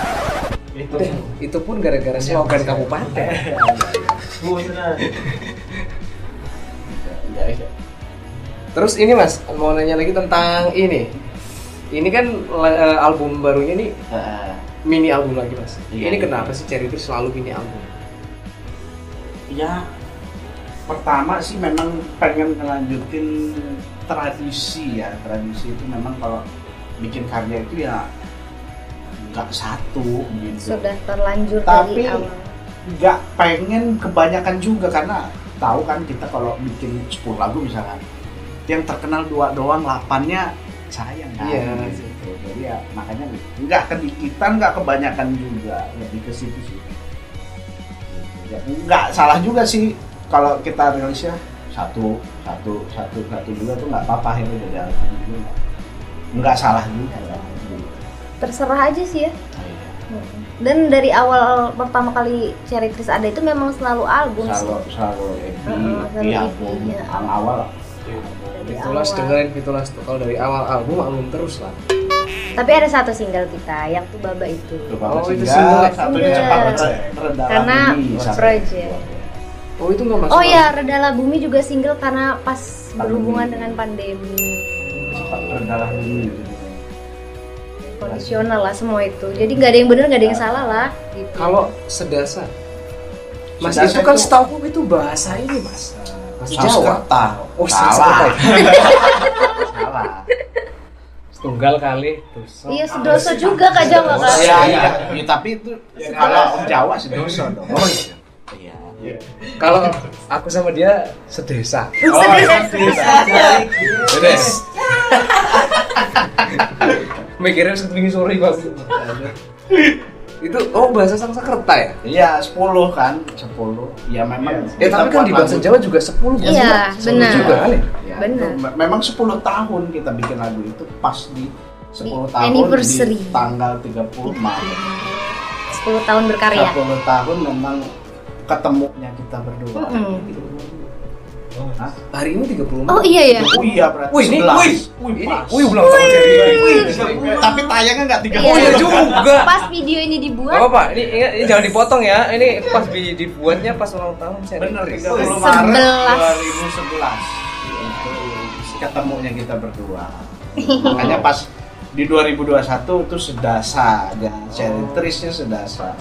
Speaker 4: Eh,
Speaker 1: Itu
Speaker 2: Udah, itu pun gara-gara slogan kabupaten.
Speaker 4: Benar.
Speaker 2: Iya,
Speaker 1: ya, ya.
Speaker 2: Terus ini mas, mau nanya lagi tentang ini. Ini kan eh, album barunya nih
Speaker 1: Eh,
Speaker 2: mini album lagi mas.
Speaker 1: Iya.
Speaker 2: ini kenapa sih Cherry itu selalu mini album?
Speaker 1: ya pertama sih memang pengen ngelanjutin tradisi ya tradisi itu memang kalau bikin karya itu ya nggak satu gitu
Speaker 3: Sudah terlanjur
Speaker 1: Tapi-
Speaker 3: dari awal.
Speaker 1: nggak pengen kebanyakan juga karena tahu kan kita kalau bikin 10 lagu misalkan yang terkenal dua doang lapannya sayang kan
Speaker 2: Iya.
Speaker 1: gitu. jadi ya makanya nggak kedikitan nggak kebanyakan juga lebih ke situ sih Gitu. ya, nggak salah juga sih kalau kita rilisnya satu satu satu satu juga tuh nggak apa-apa itu dari album juga nggak salah juga nggak salah juga.
Speaker 3: Terserah aja sih ya.
Speaker 1: Nah, iya.
Speaker 3: Dan dari awal pertama kali Ceritris ada itu memang selalu album sih.
Speaker 1: selalu selalu Ebi
Speaker 3: Heeh,
Speaker 1: ya.
Speaker 3: selalu
Speaker 1: di
Speaker 3: Ebi,
Speaker 1: album
Speaker 3: iya.
Speaker 1: yang awal
Speaker 2: Iya.
Speaker 3: Dari
Speaker 2: Fitulas
Speaker 3: awal.
Speaker 2: dengerin Fitulas tuh kalau dari awal album album terus lah.
Speaker 3: Tapi ada satu single kita yang tuh baba itu.
Speaker 1: Terutama
Speaker 2: Oh, itu
Speaker 1: single,
Speaker 2: single.
Speaker 1: satunya
Speaker 3: Single.
Speaker 1: cepat Re- Rendah
Speaker 3: Iya. Karena
Speaker 1: Bumi, satu.
Speaker 3: project.
Speaker 2: Oh itu nggak masuk.
Speaker 3: Oh ya, Redala Bumi juga single karena pas
Speaker 1: Pandemi.
Speaker 3: berhubungan dengan pandemi.
Speaker 1: Cepat rendah bumi.
Speaker 3: Kondisional lah semua itu. Jadi nggak ada yang benar, nggak ada yang salah lah. Gitu.
Speaker 2: Kalau sedasa. Mas
Speaker 1: Sedasa
Speaker 2: itu kan
Speaker 1: itu-
Speaker 2: setahu aku itu bahasa ini mas. Bahasa Jawa.
Speaker 1: Sanskerta.
Speaker 2: Oh,
Speaker 1: salah. Salah.
Speaker 2: Setunggal kali.
Speaker 3: Iya, sedoso juga Kak Jawa
Speaker 1: Oh,
Speaker 3: kan.
Speaker 1: iya, iya. Ya, tapi itu kalau om Jawa sedoso dong. Oh iya. Iya.
Speaker 2: Kalau aku sama dia sedesa.
Speaker 3: Oh,
Speaker 2: Oh, iya. Beres. Mikirnya seminggu sore bang. itu oh bahasa Sanskerta ya?
Speaker 1: Iya, 10 kan, 10. Ya memang.
Speaker 2: Ya tapi kan di bahasa Jawa juga 10 bukan sih,
Speaker 3: Iya,
Speaker 2: Pak? 10
Speaker 3: benar.
Speaker 2: juga kan ya?
Speaker 1: Ya,
Speaker 3: Benar.
Speaker 1: itu me- memang 10 tahun kita bikin lagu itu pas di 10
Speaker 3: Di
Speaker 1: tahun
Speaker 3: anniversary.
Speaker 1: di tanggal 30 Maret.
Speaker 3: 10 tahun berkarya.
Speaker 1: 10 tahun memang ketemunya kita berdua. gitu.
Speaker 3: Mm-mm.
Speaker 1: Hah?
Speaker 2: Hari ini 30
Speaker 3: Oh iya ya.
Speaker 1: Oh iya berarti
Speaker 2: Wih, ini,
Speaker 1: 11.
Speaker 2: wih,
Speaker 1: Wih,
Speaker 2: ini,
Speaker 1: pas.
Speaker 2: wih, ulang tahun jadi. Wih,
Speaker 1: Tapi tayangnya nggak 30.
Speaker 3: Iya.
Speaker 2: oh iya juga.
Speaker 3: Pas video ini
Speaker 2: Gak
Speaker 1: Oh.
Speaker 3: dibuat
Speaker 2: apa-apa, ini, ingat, ini jangan dipotong ya. Ini pas di- dibuatnya pas ulang tahun saya.
Speaker 1: Bener, 30
Speaker 3: Oh,
Speaker 1: Maret
Speaker 3: 11.
Speaker 1: 2011. Itu ketemunya kita berdua. Makanya pas di 2021 itu sedasa dan
Speaker 3: Oh.
Speaker 1: Ceritrisnya sedasa.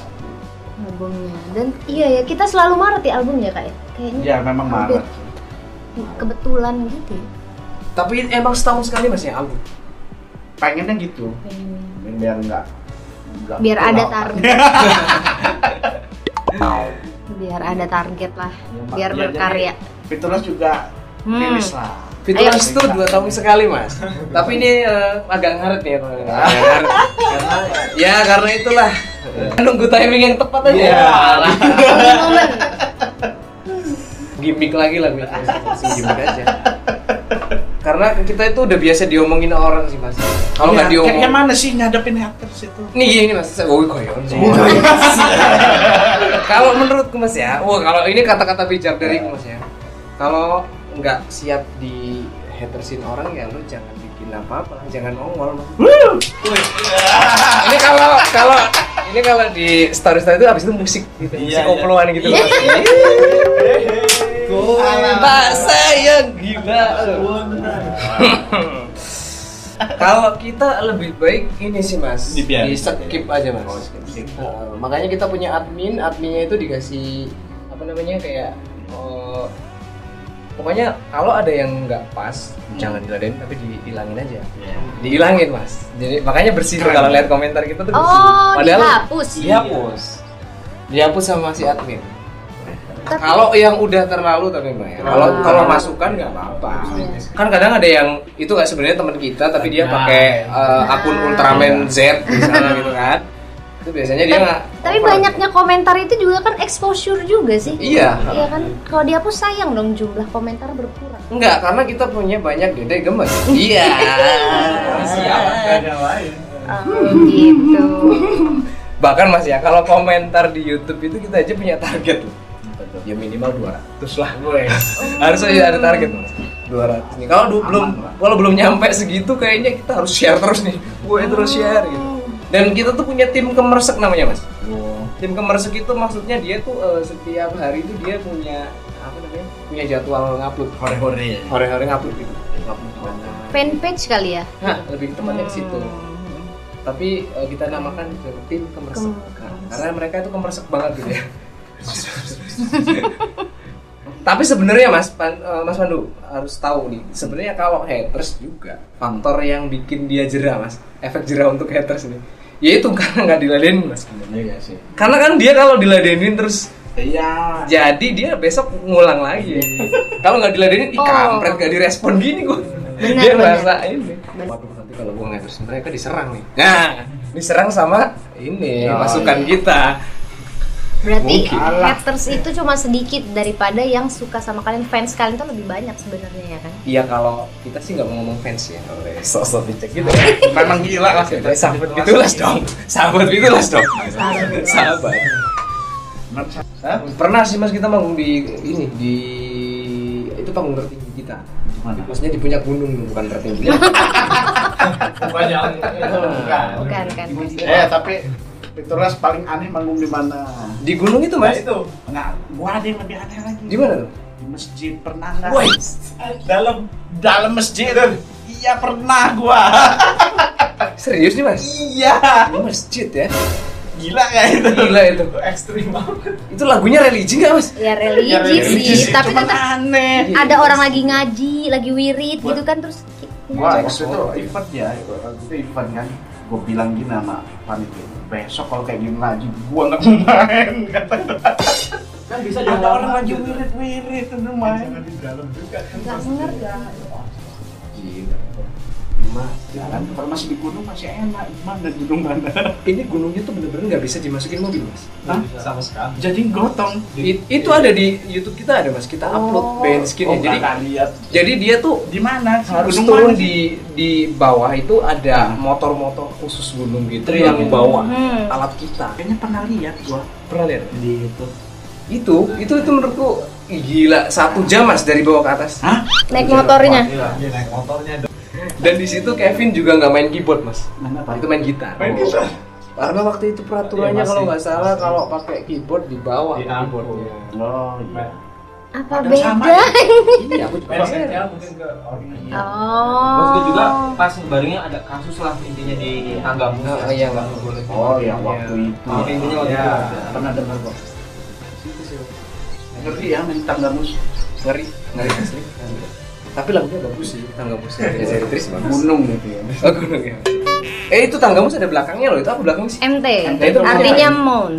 Speaker 3: albumnya. Dan iya ya, kita selalu Maret ya albumnya Kak ya. Kayaknya
Speaker 1: Ya memang
Speaker 3: Hampir.
Speaker 1: Maret. Iya.
Speaker 3: kebetulan gitu ya.
Speaker 2: Tapi emang setahun sekali mas ya album.
Speaker 1: Pengennya gitu.
Speaker 3: pengennya.
Speaker 1: Biar nggak nggak
Speaker 3: Biar ada
Speaker 1: kelewatan.
Speaker 3: target. biar ada target lah
Speaker 1: Ya, Mbak,
Speaker 3: biar
Speaker 1: iya,
Speaker 3: berkarya
Speaker 1: jadi Fitulas juga
Speaker 3: Hmm.
Speaker 1: rilis lah
Speaker 2: Fitulas
Speaker 1: Ayo.
Speaker 2: itu dua tahun sekali mas. Tapi ini eh, agak ngaret nih. teman-teman. Agak ngaret. Karena ya karena itulah nunggu timing yang tepat aja.
Speaker 1: Iya.
Speaker 2: Alah.
Speaker 3: Momen.
Speaker 2: gimmick lagi lah gue langsung Ah, gimmick aja. Karena kita itu udah biasa diomongin orang sih mas. Kalau nggak
Speaker 1: Ya,
Speaker 2: diomong.
Speaker 1: kayak mana sih ngadepin haters itu
Speaker 2: Nih gini mas, saya woi koyon sih.
Speaker 4: ya,
Speaker 2: kalau menurutku mas ya, wah kalau ini kata-kata bijak dari mas ya. Kalau nggak siap di hatersin orang ya lu jangan bikin apa-apa, jangan nongol mas. ini kalau kalau ini kalau di story story itu abis itu musik gitu, musik
Speaker 4: Iya, iya.
Speaker 2: koploan gitu loh. Mbak saya gila. Kalau kita lebih baik ini sih mas,
Speaker 4: Dibiarin.
Speaker 2: di skip aja mas.
Speaker 4: Oh, skip.
Speaker 2: Nah, makanya kita punya admin, adminnya itu dikasih apa namanya kayak eh, pokoknya kalau ada yang nggak pas jangan diladen tapi dihilangin aja. Dihilangin mas. Jadi makanya bersihin kalau lihat komentar kita tuh bersihin.
Speaker 3: oh
Speaker 2: Padahal
Speaker 3: dihapus
Speaker 1: Iya,
Speaker 2: dihapus, dihapus sama si admin.
Speaker 3: Tapi-
Speaker 2: Kalau yang udah terlalu tapi mbak ya. Kalau
Speaker 3: Terlalu.
Speaker 2: kalau masukan nggak apa-apa. Kan kadang ada yang itu nggak sebenarnya teman kita tapi dia
Speaker 4: Nah.
Speaker 2: pakai eh, akun
Speaker 3: Ah.
Speaker 2: Ultraman Z misalnya gitu kan. Itu biasanya dia nggak.
Speaker 3: tapi
Speaker 2: over.
Speaker 3: banyaknya komentar itu juga kan exposure juga sih
Speaker 2: Iya.
Speaker 3: iya kan kalau dihapus sayang dong jumlah komentar berkurang
Speaker 2: Enggak, karena kita punya banyak dede gemes. Iya.
Speaker 1: Hmm.
Speaker 3: Oh, gitu
Speaker 2: Bahkan Mas ya, kalau komentar di YouTube itu kita aja punya target loh. Ya minimal 200 lah gue.
Speaker 1: ya.
Speaker 2: harus aja ada target Mas. 200 nih. Kalau du- belum
Speaker 1: lah.
Speaker 2: kalau belum nyampe segitu kayaknya kita harus share terus nih. Gue terus share gitu. Dan kita tuh punya tim kemersek namanya Mas. Tim kemersek itu maksudnya dia tuh eh, setiap hari itu dia punya apa namanya? Punya jadwal ngupload.
Speaker 1: hore-hore ya
Speaker 2: Hore-hore ngupload gitu.
Speaker 3: fanpage kali ya
Speaker 2: Nah, lebih tepatnya ke situ. Tapi eh, kita namakan ke tim kemersek.
Speaker 3: Kem-
Speaker 2: Nah, karena mereka itu kemersek banget gitu ya. Tapi sebenarnya Mas Pan- eh, Mas Pandu harus tahu nih, sebenarnya kalau haters juga faktor yang bikin dia jera Mas, efek jera untuk haters ini. Yaitu karena nggak diladenin Mas.
Speaker 1: iya sih
Speaker 2: Karena kan dia kalau diladenin terus
Speaker 1: iya
Speaker 2: jadi dia besok ngulang lagi. kalau nggak diladenin, ih
Speaker 3: Oh.
Speaker 2: kampret nggak direspon gini gua.
Speaker 3: Benar,
Speaker 2: dia
Speaker 3: benar.
Speaker 2: merasa ini.
Speaker 3: Benar.
Speaker 2: Waduh nanti kalau gua nggak terus mereka diserang nih. Nah, diserang sama ini
Speaker 1: Oh,
Speaker 2: pasukan kita.
Speaker 3: Berarti
Speaker 2: Mungkin.
Speaker 3: haters itu cuma sedikit daripada yang suka sama kalian fans kalian tuh lebih banyak sebenarnya ya kan?
Speaker 2: Iya kalau kita sih nggak mau ngomong fans ya, oleh sosok dicek gitu. ya.
Speaker 1: memang gila lah
Speaker 2: Oke, sahabat bitulas dong, sahabat bitulas dong, sahabat. Pernah sih mas kita manggung di ini di itu panggung tertinggi kita. Maksudnya di puncak gunung bukan tertinggi.
Speaker 4: Bukan yang
Speaker 3: Bukan kan?
Speaker 1: eh tapi Fitulas paling aneh manggung di mana
Speaker 2: di gunung itu mas?
Speaker 4: itu
Speaker 1: nggak gua ada yang lebih aneh lagi
Speaker 2: Di mana tuh?
Speaker 1: di masjid pernah nggak
Speaker 2: Woi,
Speaker 4: dalam
Speaker 1: dalam masjid iya pernah gua
Speaker 2: serius nih mas?
Speaker 1: iya
Speaker 2: Ini masjid ya?
Speaker 1: gila nggak itu
Speaker 2: Gila itu.
Speaker 4: ekstrim banget
Speaker 2: Itu lagunya religi nggak mas?
Speaker 3: Ya religi,
Speaker 1: Ya, religi
Speaker 3: sih,
Speaker 1: sih,
Speaker 3: iya.
Speaker 1: kan
Speaker 3: tapi
Speaker 1: cuman
Speaker 3: tetap
Speaker 1: aneh
Speaker 3: ada orang lagi ngaji, lagi wirid gitu kan terus ki-
Speaker 1: Wah,
Speaker 2: Cek
Speaker 1: waktu itu
Speaker 2: semua.
Speaker 1: event ya, waktu itu event kan gue bilang gini sama panitia besok kalau kayak gini lagi gue nggak mau main kata
Speaker 4: kan bisa
Speaker 1: ada orang lagi wirid wirid itu main
Speaker 4: di dalam juga
Speaker 3: nggak ngerti.
Speaker 2: Gila. Mas,
Speaker 1: jalan kalau masih di gunung masih enak gimana di gunung mana
Speaker 2: ini gunungnya tuh bener-bener nggak bisa dimasukin mobil mas.
Speaker 1: Hah?
Speaker 4: sama sekali
Speaker 1: jadi gotong
Speaker 2: It- itu ada di YouTube kita ada mas, kita
Speaker 3: Oh.
Speaker 1: Oh.
Speaker 2: upload bandskin ya. Jadi
Speaker 1: nggak lihat
Speaker 2: jadi dia tuh
Speaker 1: di mana
Speaker 2: harus
Speaker 1: Gunung
Speaker 2: turun
Speaker 1: mana sih?
Speaker 2: di di bawah itu ada motor-motor khusus gunung gitu
Speaker 1: Trail
Speaker 2: yang
Speaker 1: gitu.
Speaker 2: bawa
Speaker 3: Hmm.
Speaker 2: alat kita.
Speaker 1: kayaknya pernah lihat gua
Speaker 2: Pernah lihat?
Speaker 1: di itu
Speaker 2: Itu itu itu menurutku ih, gila satu jam mas dari bawah ke atas.
Speaker 1: hah
Speaker 3: Naik motornya.
Speaker 4: iya naik motornya
Speaker 2: Dan di situ Kevin juga nggak main keyboard mas,
Speaker 1: mana apa
Speaker 2: itu main gitar. Oh.
Speaker 1: Main gitar.
Speaker 2: Karena waktu itu peraturannya
Speaker 4: Iya, masih.
Speaker 2: kalau nggak salah
Speaker 4: Masih.
Speaker 2: kalau pakai keyboard di bawah Iya,
Speaker 4: Di Iya.
Speaker 2: keyboardnya.
Speaker 1: oh iya
Speaker 3: Apa
Speaker 1: Ada sama
Speaker 3: beda?
Speaker 2: Iya, aku juga
Speaker 4: Pengennya mungkin ke orang
Speaker 3: Oh.
Speaker 4: Waktu juga pas barengnya ada kasus lah intinya di tanggamu
Speaker 2: Oh, iya, Mbak.
Speaker 4: boleh.
Speaker 1: oh yang
Speaker 2: Iya.
Speaker 1: waktu itu
Speaker 4: Oh, intinya waktu itu ada.
Speaker 1: pernah dengar gua ngeri ya main tangga mus
Speaker 2: ngeri, ngeri asli. Tapi lagunya bagus sih, tangga mus. Ya, Zeritris bagus.
Speaker 1: gunung gitu ya
Speaker 2: Oh, gunung ya. Eh itu tangga mus ada belakangnya loh, itu apa belakang sih?
Speaker 3: MT.
Speaker 2: MT itu
Speaker 3: Artinya
Speaker 2: punya-
Speaker 3: mount.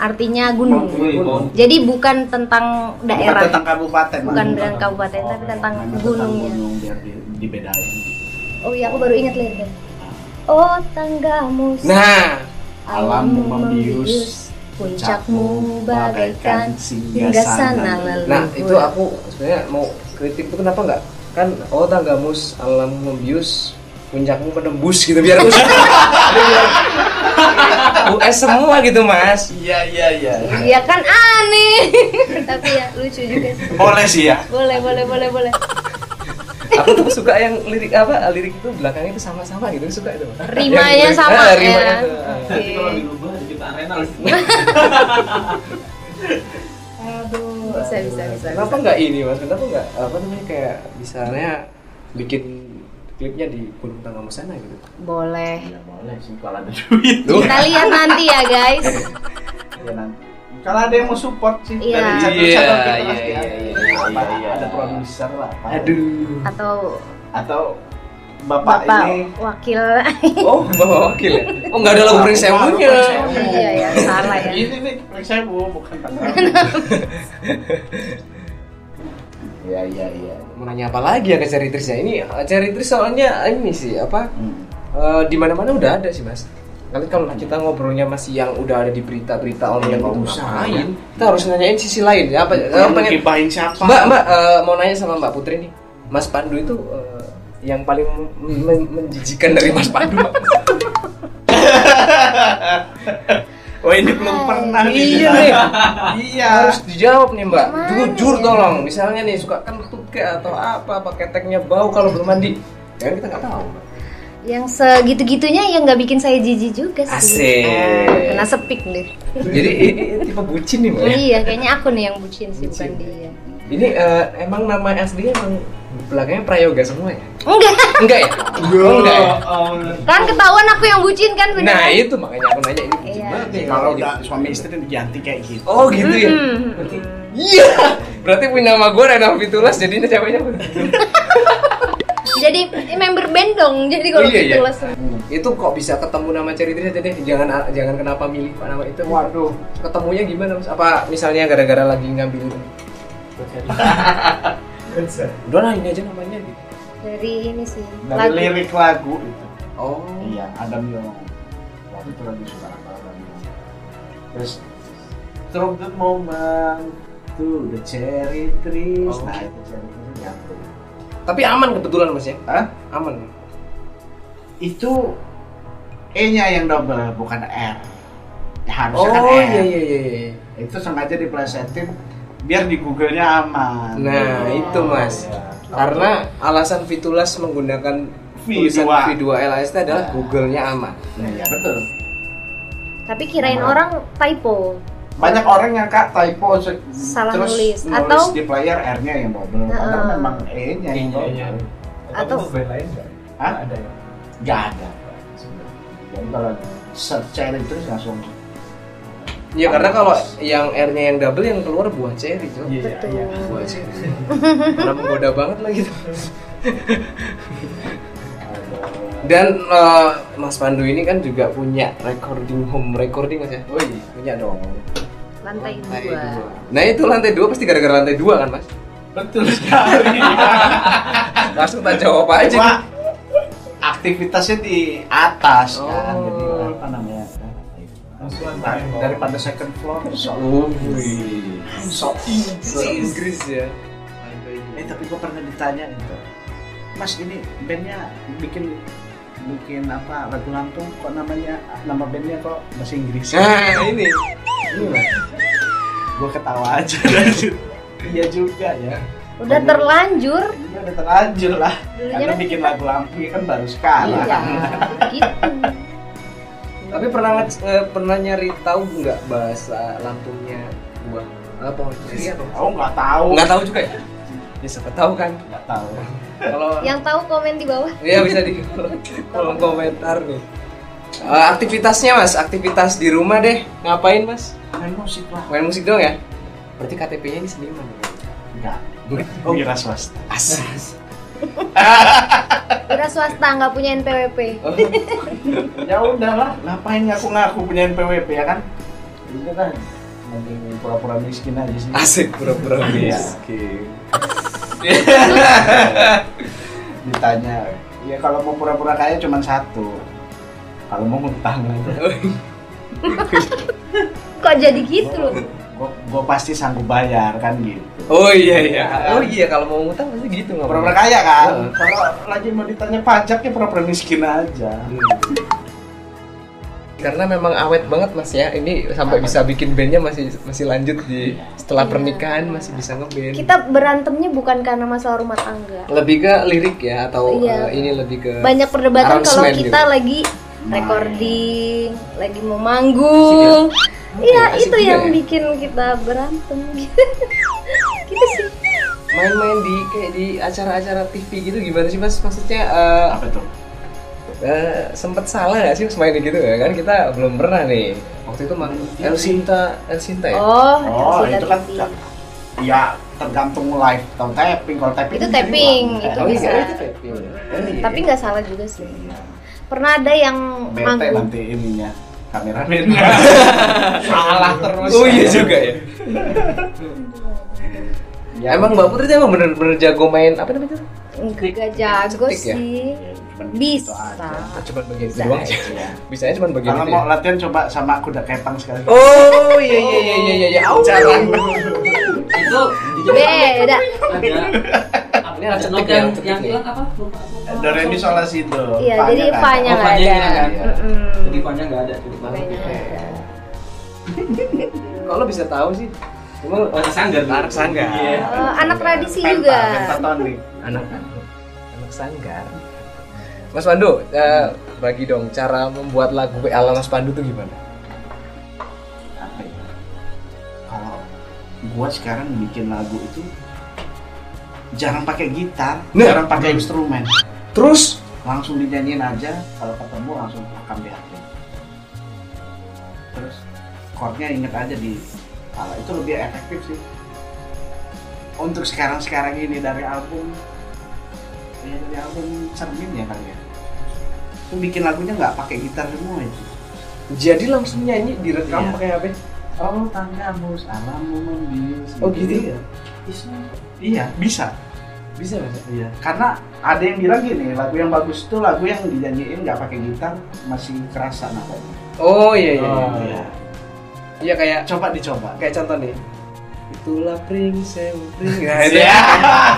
Speaker 3: artinya gunung.
Speaker 4: Wih,
Speaker 2: Iya,
Speaker 4: Bang.
Speaker 3: Jadi bukan tentang
Speaker 1: Bukan
Speaker 3: daerah,
Speaker 1: tentang kabupaten Mas.
Speaker 3: bukan ya. tentang kabupaten, tapi tentang
Speaker 1: Memang tentang
Speaker 3: gunungnya.
Speaker 1: gunung biar di- dibedain
Speaker 3: Oh iya, aku baru ingat liriknya. Oh tanggamu
Speaker 2: Nah,
Speaker 1: alammu membius
Speaker 3: puncakmu bagaikan
Speaker 1: singgah
Speaker 3: hingga
Speaker 1: sana
Speaker 3: sana leluhur.
Speaker 2: nah itu aku sebenarnya mau kritik tuh kenapa nggak kan oh tanggamus alam membius puncakmu menembus gitu biar us US semua gitu mas
Speaker 1: iya iya iya
Speaker 3: Iya kan aneh, tapi ya lucu juga. sih.
Speaker 1: boleh sih ya
Speaker 3: Boleh, boleh, boleh, boleh.
Speaker 2: aku tuh suka yang lirik apa lirik itu belakangnya itu sama-sama gitu suka itu Mas.
Speaker 3: Rimanya
Speaker 2: Yang-
Speaker 3: sama
Speaker 2: Ah,
Speaker 3: ya.
Speaker 2: rimanya tuh.
Speaker 4: Nanti kalau
Speaker 3: Oke.
Speaker 4: dirubah kita arena
Speaker 3: Aduh, bisa, bisa, bisa.
Speaker 2: kenapa nggak ini mas kenapa nggak apa namanya kayak misalnya bikin klipnya di gunung tanggamus sana gitu
Speaker 3: Boleh.
Speaker 2: Iya,
Speaker 1: ya boleh sih kalau ada duit
Speaker 3: Kita lihat nanti ya guys.
Speaker 1: ya nanti kalau ada yang mau support sih
Speaker 3: Iya.
Speaker 1: dari catur-catur kita
Speaker 2: Iya,
Speaker 1: pasti
Speaker 2: iya,
Speaker 1: ada.
Speaker 2: iya,
Speaker 1: Apa,
Speaker 2: iya, iya.
Speaker 1: ada produser lah apa.
Speaker 2: aduh
Speaker 3: Atau
Speaker 1: atau bapak,
Speaker 3: bapak
Speaker 1: ini
Speaker 3: wakil.
Speaker 2: oh bawa wakil ya oh nggak ada lagu pring saya punya
Speaker 3: Iya ya, salah ya.
Speaker 1: ini nih saya bu bukan Tangerang. iya iya iya
Speaker 2: mau nanya apa lagi ya ke Ceritrisnya ini Ceritris soalnya ini sih apa
Speaker 1: Hmm.
Speaker 2: eh, di mana mana udah ada sih mas kalian kalau kita ngobrolnya masih yang udah ada di berita-berita online
Speaker 1: nggak
Speaker 2: itu
Speaker 1: usah.
Speaker 2: ngapain kita harus nanyain sisi lain ya apa eh,
Speaker 1: Yang
Speaker 2: pengen
Speaker 1: gibahin siapa
Speaker 2: mbak mbak eh, mau nanya sama mbak Putri nih Mas Pandu itu eh, yang paling men- men- menjijikan dari Mas Pandu Mbak.
Speaker 1: oh ini belum pernah nih.
Speaker 2: iya nih
Speaker 1: iya
Speaker 2: harus dijawab nih mbak
Speaker 3: Gimana
Speaker 2: jujur
Speaker 3: ya?
Speaker 2: tolong misalnya nih suka kentut kayak atau apa pakai teknya bau kalau belum mandi ya kan kita nggak tahu mbak
Speaker 3: Yang segitu-gitunya yang nggak bikin saya jijik juga sih.
Speaker 2: Asik.
Speaker 3: Eh, Kena sepik deh.
Speaker 2: jadi i- i- tipe bucin nih mbak ya?
Speaker 3: Iya, kayaknya aku nih yang bucin sih, bukan
Speaker 2: Bucin.
Speaker 3: dia.
Speaker 2: ini eh, emang nama aslinya emang belakangnya Prayoga semua ya
Speaker 3: Enggak,
Speaker 2: enggak ya oh, enggak ya
Speaker 3: kan ketahuan aku yang bucin kan beneran.
Speaker 2: nah itu makanya aku nanya ini bucin
Speaker 3: Iya.
Speaker 2: banget nih
Speaker 1: kalau udah suami istri diganti kayak gitu
Speaker 2: oh gitu ya
Speaker 3: Hmm.
Speaker 2: iya berarti punya nama gue Renal Fitulas jadinya ceweknya
Speaker 3: Jadi eh, member band dong. Jadi kalau
Speaker 2: Iya, iya.
Speaker 3: gitu langsung.
Speaker 2: itu kok bisa ketemu nama Ceritrisnya jadi jangan ah, jangan kenapa milih Pak, nama itu
Speaker 1: waduh
Speaker 2: ketemunya gimana mas? Apa misalnya gara-gara lagi ngambil udah lah ini aja namanya gitu.
Speaker 3: Dari ini sih.
Speaker 1: dari lirik lagu gitu.
Speaker 2: Oh.
Speaker 1: iya Adam yang waktu itu lagi suka apa Adam Young. terus through the moment to the cherry trees
Speaker 2: Oh.
Speaker 1: nah itu cherry trees nyatu
Speaker 2: Tapi aman kebetulan mas ya?
Speaker 1: Hah?
Speaker 2: Aman. ya?
Speaker 1: itu E nya yang double bukan R harusnya kan
Speaker 2: Oh
Speaker 1: R
Speaker 2: iya iya iya. iya.
Speaker 1: itu sengaja diplesetin biar di Google nya aman Iya.
Speaker 2: Nah itu mas.
Speaker 1: Gitu.
Speaker 2: Karena alasan Fitulas menggunakan tulisan
Speaker 1: V2.
Speaker 2: V2LAST adalah
Speaker 1: Nah.
Speaker 2: Google-nya aman.
Speaker 1: Nah, ya betul
Speaker 3: Tapi kirain
Speaker 2: Iya.
Speaker 3: orang typo.
Speaker 1: banyak orang yang kak typo se-
Speaker 3: Salah
Speaker 1: terus
Speaker 3: nulis.
Speaker 1: nulis
Speaker 3: Atau-
Speaker 1: di player R-nya yang double padahal
Speaker 3: Heeh.
Speaker 1: memang E-nya yang double
Speaker 3: Atau-
Speaker 4: band lain nggak?
Speaker 1: Hah?
Speaker 4: Nggak ada ya
Speaker 1: nggak ada sebenarnya. jadi kalau search cari terus langsung
Speaker 2: Ya karena kalau yang R-nya yang double yang keluar buah ceri tuh.
Speaker 4: Iya,
Speaker 3: Betul.
Speaker 4: iya.
Speaker 2: Buah ceri. Karena menggoda banget gitu. lagi tuh. Dan eh, Mas Pandu ini kan juga punya recording home recording mas ya?
Speaker 1: woi
Speaker 2: Punya dong.
Speaker 3: Lantai
Speaker 2: Lantai
Speaker 3: dua.
Speaker 2: dua. Nah itu lantai dua pasti gara-gara lantai dua kan mas?
Speaker 1: betul sekali
Speaker 2: Langsung tak jawab aja.
Speaker 1: cuma aktivitasnya di atas kan
Speaker 2: Oh.
Speaker 1: jadi apa namanya
Speaker 4: Musuhan
Speaker 1: Dari-
Speaker 2: ya.
Speaker 4: time.
Speaker 1: daripada second floor so
Speaker 2: Wih.
Speaker 1: so Inggris
Speaker 2: Oh, iya. Inggris ya.
Speaker 1: eh tapi gue pernah ditanya gitu mas ini bandnya bikin bikin apa lagu Lampung kok namanya nama bandnya kok bahasa Inggris
Speaker 2: Nah ini. Ini, Mas.
Speaker 1: gue ketawa aja lanjut iya juga ya
Speaker 3: Udah terlanjur.
Speaker 1: ini udah terlanjur lah
Speaker 3: Dulunya
Speaker 1: karena
Speaker 3: kan
Speaker 1: bikin
Speaker 3: kita-
Speaker 1: lagu Lampung ya kan baru sekarang
Speaker 3: Iya. Gitu.
Speaker 2: Tapi pernah nge- eh, pernah nyari tahu nggak bahasa Lampungnya eh, buah apa?
Speaker 1: Iya. aku nggak tahu
Speaker 2: Iya. Nggak tahu juga ya? Ya siapa tahu kan?
Speaker 1: nggak tahu
Speaker 2: Kalau
Speaker 3: Yang tahu komen di bawah.
Speaker 2: Iya bisa di kolom- kolom komentar nih. Eh, aktivitasnya mas, aktivitas di rumah deh. Ngapain mas?
Speaker 1: main musik lah
Speaker 2: Main musik dong ya? Berarti KTP-nya ini seniman.
Speaker 1: nggak
Speaker 2: Oh.
Speaker 1: wira swasta
Speaker 2: Asas.
Speaker 3: Wira swasta nggak punya NPWP.
Speaker 2: Oh.
Speaker 1: ya udahlah ngapain ngaku-ngaku punya NPWP ya kan ini kan mending pura-pura miskin aja sih
Speaker 2: Asik pura-pura
Speaker 1: Iya.
Speaker 2: miskin.
Speaker 1: ditanya ya kalau mau pura-pura kaya cuma satu kalau mau ngutang
Speaker 3: Kok jadi gitu?
Speaker 1: gue gue pasti sanggup bayar kan gitu
Speaker 2: Oh iya iya. Oh iya kalau mau ngutang pasti gitu nggak
Speaker 1: pura-pura kaya kan
Speaker 2: Heeh.
Speaker 1: kalau lagi mau ditanya pajak ya pura-pura miskin aja
Speaker 2: Karena memang awet banget mas ya, ini sampai bisa bikin bandnya masih masih lanjut di setelah pernikahan masih bisa ngeband.
Speaker 3: Kita berantemnya bukan karena masalah rumah tangga.
Speaker 2: Lebih ke lirik ya atau
Speaker 3: Iya.
Speaker 2: eh, ini lebih ke
Speaker 3: Banyak perdebatan kalau
Speaker 2: Arrangement
Speaker 3: kita
Speaker 2: gitu.
Speaker 3: lagi recording, lagi mau manggung. Iya,
Speaker 2: Asik
Speaker 3: itu
Speaker 2: juga
Speaker 3: yang
Speaker 2: ya.
Speaker 3: bikin kita berantem. gitu sih.
Speaker 2: main-main di kayak di acara-acara TV gitu gimana sih mas? Maksudnya eh,
Speaker 1: apa tuh
Speaker 2: eh, sempet salah nggak sih mas main gitu ya kan kita belum pernah nih. Waktu itu mang El Sinta, El Sinta ya.
Speaker 1: oh
Speaker 3: Oh, Elvira
Speaker 1: itu kan
Speaker 3: TV.
Speaker 1: ya tergantung live atau tapping kalau tapping
Speaker 3: Itu
Speaker 1: kan
Speaker 3: tapping,
Speaker 1: jadi
Speaker 3: itu
Speaker 1: live.
Speaker 3: bisa.
Speaker 2: iya, itu tapping. Oh, iya.
Speaker 3: Tapi nggak salah juga sih. Pernah ada yang
Speaker 1: bete
Speaker 3: manggung.
Speaker 1: nanti ininya kameramen salah terus
Speaker 2: Oh iya juga ya.
Speaker 1: Ya,
Speaker 2: Emang Mbak Putri tuh emang bener-bener jago main apa namanya tuh?
Speaker 3: Enggak jago
Speaker 2: Cetik ya?
Speaker 3: sih.
Speaker 1: ya, cuman gitu
Speaker 3: Bisa.
Speaker 1: aja.
Speaker 2: Cuma bagian itu
Speaker 3: Bisa
Speaker 2: doang sih.
Speaker 1: Iya.
Speaker 2: Bisanya cuma bagian
Speaker 1: kalau
Speaker 2: itu.
Speaker 1: mau
Speaker 2: ya.
Speaker 1: latihan coba sama kuda kepang sekali
Speaker 2: Oh iya iya iya iya iya. Au.
Speaker 1: Jalan.
Speaker 4: Itu
Speaker 3: Beda.
Speaker 4: ada
Speaker 2: Ini
Speaker 4: ya? ada
Speaker 2: harus
Speaker 4: note
Speaker 2: cetek ya,
Speaker 4: yang
Speaker 2: cetek
Speaker 4: yang
Speaker 2: ya.
Speaker 4: hilang apa? Lupa aku.
Speaker 1: do re mi sol la si do
Speaker 3: Iya,
Speaker 1: Fa-nya kan?
Speaker 3: jadi
Speaker 1: nggak ada.
Speaker 3: fa-nya nggak
Speaker 4: Oh, fa-nya
Speaker 3: ada.
Speaker 4: nggak ada.
Speaker 3: Mm-mm.
Speaker 4: Jadi panjang nggak ada. Jadi banget.
Speaker 3: Fa-nya
Speaker 2: gitu ya?
Speaker 3: nggak ada.
Speaker 2: Kalau bisa tahu sih. Emang
Speaker 4: Anak sanggar.
Speaker 2: Anak sanggar.
Speaker 4: Iya.
Speaker 3: Eh, anak tradisi
Speaker 1: Penta,
Speaker 3: juga.
Speaker 1: pentatonik.
Speaker 2: anak anak sanggar. Mas Pandu, eh, bagi dong cara membuat lagu ala Mas Pandu tuh gimana?
Speaker 1: apa ya kalau gua sekarang bikin lagu itu jarang pakai gitar
Speaker 2: Nah.
Speaker 1: jarang pakai instrumen
Speaker 2: Terus
Speaker 1: langsung dinyanyiin aja kalau ketemu langsung rekam di hati terus chordnya inget aja di kepala itu lebih efektif sih untuk sekarang sekarang ini dari album ya dari album cermin ya kali ya itu bikin lagunya nggak pakai gitar semua itu
Speaker 2: jadi langsung nyanyi direkam
Speaker 1: Iya.
Speaker 2: pakai HP.
Speaker 1: oh tanggamu salamu membius
Speaker 2: Oh, gitu ya?
Speaker 1: Bisa. iya bisa
Speaker 2: Bisa mas?
Speaker 1: Iya, karena ada yang bilang gini, lagu yang bagus itu lagu yang dinyanyiin nggak pakai gitar masih kerasa namanya.
Speaker 2: Oh iya iya.
Speaker 4: Oh,
Speaker 2: iya. Iya kayak
Speaker 1: Coba dicoba.
Speaker 2: kayak contoh nih itulah pring sewu pring ya
Speaker 1: Kayak
Speaker 2: itu ya.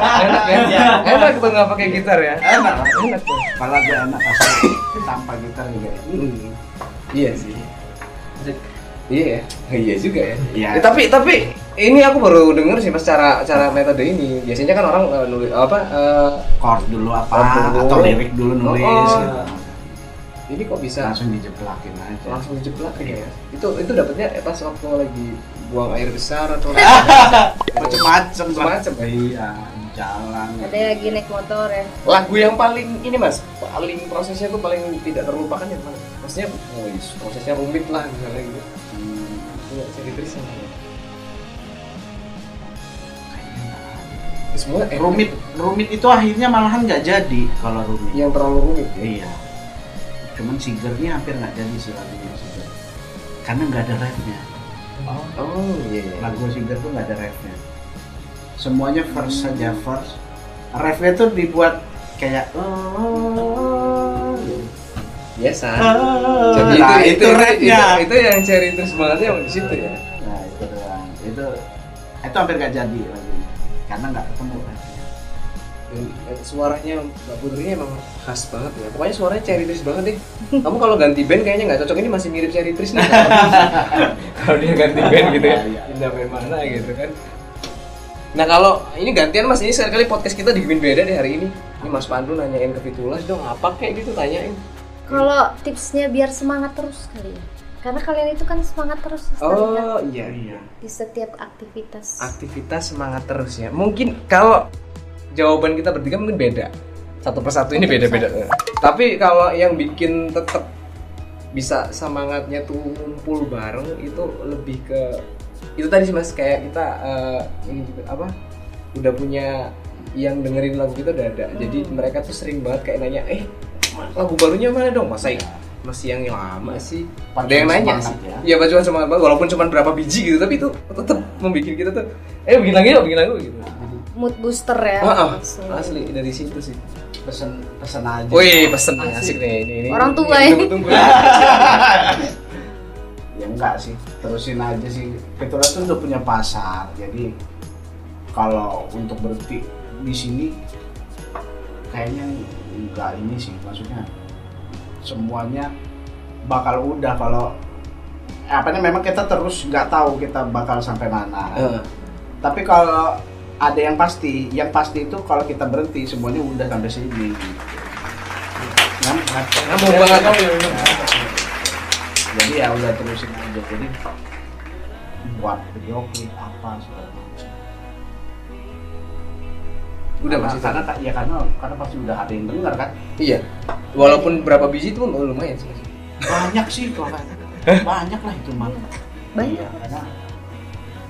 Speaker 2: enak ya enak tuh nggak pakai gitar ya
Speaker 1: Enak.
Speaker 2: enak tuh
Speaker 1: Malah gue enak asli tanpa gitar juga.
Speaker 2: Hmm. iya sih
Speaker 4: Jadi-
Speaker 2: iya ya. iya juga ya
Speaker 1: Iya.
Speaker 2: Eh, tapi tapi ini aku baru denger sih mas cara cara metode ini biasanya kan orang eh, nulis apa eh,
Speaker 1: Chord dulu apa
Speaker 2: Chord dulu.
Speaker 1: atau lirik dulu nulis
Speaker 2: Oh, oh.
Speaker 1: gitu.
Speaker 2: ini kok bisa
Speaker 1: Langsung dijeplakin aja.
Speaker 2: langsung dijeplak ya itu itu dapatnya pas waktu lagi buang air besar atau
Speaker 1: Macem-macem lah.
Speaker 2: Macem-macem, eh.
Speaker 1: Iya, jalan.
Speaker 3: Ada lagi naik motor ya.
Speaker 2: lagu yang paling ini mas paling prosesnya tuh paling tidak terlupakan yang mana maksudnya oh, is- prosesnya rumit lah misalnya gitu
Speaker 1: Hmm,
Speaker 2: Iya, jadi terus yang mana? semua eh,
Speaker 1: rumit rumit itu akhirnya malahan nggak jadi kalau rumit.
Speaker 2: yang terlalu rumit ya?
Speaker 1: Iya. Cuman sigernya hampir nggak jadi sih lagunya Siger. Karena nggak ada refnya.
Speaker 2: oh iya iya
Speaker 1: Lagu Siger tuh nggak ada refnya. Semuanya verse saja verse. Refnya tuh dibuat kayak
Speaker 2: biasa
Speaker 1: Jadi nah, itu,
Speaker 2: itu- Ah, itu,
Speaker 1: refnya.
Speaker 2: itu, itu yang cari terus bangetnya emang di situ ya
Speaker 1: Nah itu doang. Itu itu hampir nggak jadi lagunya. Karena nggak ketemu refnya.
Speaker 2: Dan, eh, suaranya mbak Putri emang khas banget ya pokoknya suaranya cari terus banget deh kamu kalau ganti band kayaknya nggak cocok ini masih mirip cari terus nih kalau dia ganti band gitu ya pindah band mana gitu kan nah kalau ini gantian mas ini sekali kali podcast kita dibikin beda deh hari ini ini mas Pandu nanyain ke Fitulas dong apa kayak gitu tanyain
Speaker 3: Kalau tipsnya biar semangat terus kali ya. Karena kalian itu kan semangat terus Sister, ya,
Speaker 2: oh iya
Speaker 1: Iya.
Speaker 3: di setiap aktivitas.
Speaker 2: aktivitas semangat terus ya mungkin kalau jawaban kita bertiga mungkin beda satu persatu ini beda-beda tapi kalau yang bikin tetap bisa semangatnya tuh ngumpul bareng itu lebih ke itu tadi sih mas kayak kita eh, ini juga, apa udah punya yang Hmm. dengerin lagu kita udah ada jadi mereka tuh sering banget kayak nanya eh lagu barunya mana dong masa ya masih yang lama sih
Speaker 1: Pacuan
Speaker 2: ada yang
Speaker 1: semangat
Speaker 2: nanya sih
Speaker 1: ya.
Speaker 2: ya pacuan semangat banget walaupun cuma berapa biji gitu tapi itu tetap membuat kita tuh eh bikin lagi yuk bikin lagi yuk, gitu Jadi,
Speaker 3: mood booster ya
Speaker 2: ah, ah,
Speaker 3: asli.
Speaker 2: asli dari situ sih
Speaker 1: pesen pesen aja
Speaker 2: wih pesen asik nih ini, Iya, ini
Speaker 3: Orang
Speaker 2: ini
Speaker 3: tua ya.
Speaker 2: tunggu-tunggu ya.
Speaker 1: ya enggak sih terusin aja sih Petronas tuh udah punya pasar jadi kalau untuk berhenti di sini kayaknya enggak ini sih maksudnya semuanya bakal udah kalau apa nih, memang kita terus nggak tahu kita bakal sampai mana
Speaker 2: Eh,
Speaker 1: tapi kalau ada yang pasti yang pasti itu kalau kita berhenti semuanya udah sampai sini Nah, nah,
Speaker 2: Nah, mau banget.
Speaker 1: jadi ya udah terusin aja jadi buat video klip apa segala macam
Speaker 2: udah
Speaker 1: Karena-
Speaker 2: masih
Speaker 1: karena ya karena karena pasti udah ada yang dengar kan
Speaker 2: iya walaupun berapa biji itu oh, lumayan sih
Speaker 1: banyak sih kalau kata. banyak lah itu mah
Speaker 3: Banyak.
Speaker 1: Iya, karena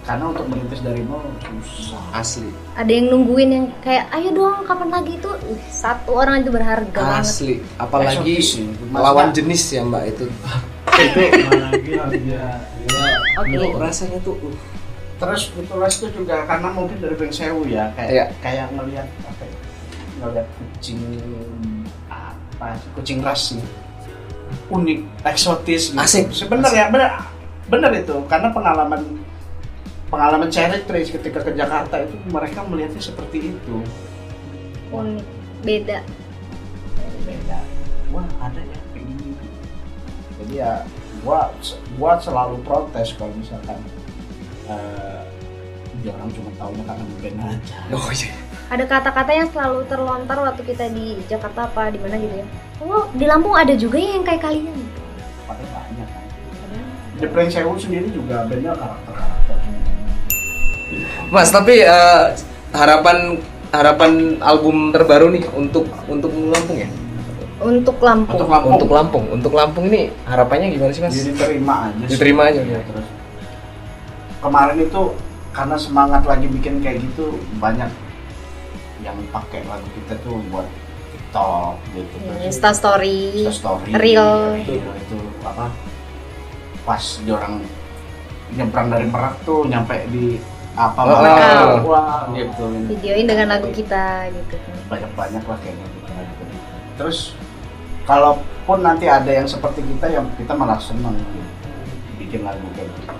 Speaker 1: karena untuk merintis dari nol susah
Speaker 2: asli
Speaker 3: ada yang nungguin yang kayak ayo dong kapan lagi itu Ih, satu orang itu berharga banget
Speaker 2: asli apalagi
Speaker 1: Eksotis sih.
Speaker 2: lawan
Speaker 1: Maksudnya-
Speaker 2: jenis ya mbak itu
Speaker 1: itu
Speaker 4: Iya,
Speaker 3: Oke.
Speaker 2: Lu rasanya tuh uh,
Speaker 1: terus Putulas itu juga karena mungkin dari Beng Sewu ya kayak
Speaker 2: Iya.
Speaker 1: kayak ngelihat apa ya ngelihat kucing apa sih, kucing ras nih unik eksotis gitu.
Speaker 2: Asik.
Speaker 1: sebenarnya bener bener itu karena pengalaman pengalaman Cherry Trace ketika ke Jakarta itu mereka melihatnya seperti itu
Speaker 3: unik beda
Speaker 1: beda wah ada ya kayak gini jadi ya gua gua selalu protes kalau misalkan eh dia orang cuma tahunya karena ngeband aja
Speaker 2: oh iya
Speaker 3: ada kata-kata yang selalu terlontar waktu kita di Jakarta apa di mana gitu ya oh di Lampung ada juga ya yang kayak kalian
Speaker 1: pakai banyak kan The Prank Sewu sendiri juga bandnya karakter-karakter
Speaker 2: mas tapi eh, harapan harapan album terbaru nih untuk untuk Lampung ya
Speaker 3: untuk Lampung
Speaker 1: untuk Lampung
Speaker 2: untuk Lampung untuk Lampung ini harapannya gimana sih mas
Speaker 1: jadi diterima aja sih.
Speaker 2: Diterima aja,
Speaker 1: Iya,
Speaker 2: ya.
Speaker 1: terus kemarin itu karena semangat lagi bikin kayak gitu banyak yang pakai lagu kita tuh buat TikTok gitu Terus-
Speaker 3: Insta Iya, Story
Speaker 1: Insta story
Speaker 3: Real.
Speaker 1: Real itu apa pas dia orang nyebrang dari Merak tuh nyampe di apa
Speaker 2: Oh,
Speaker 1: Malaka.
Speaker 2: oh.
Speaker 1: wah gitu
Speaker 3: videoin dengan lagu kita gitu kan
Speaker 1: banyak banyak lah kayaknya gitu, gitu. terus kalaupun nanti ada yang seperti kita yang kita malah seneng gitu. bikin lagu kayak gitu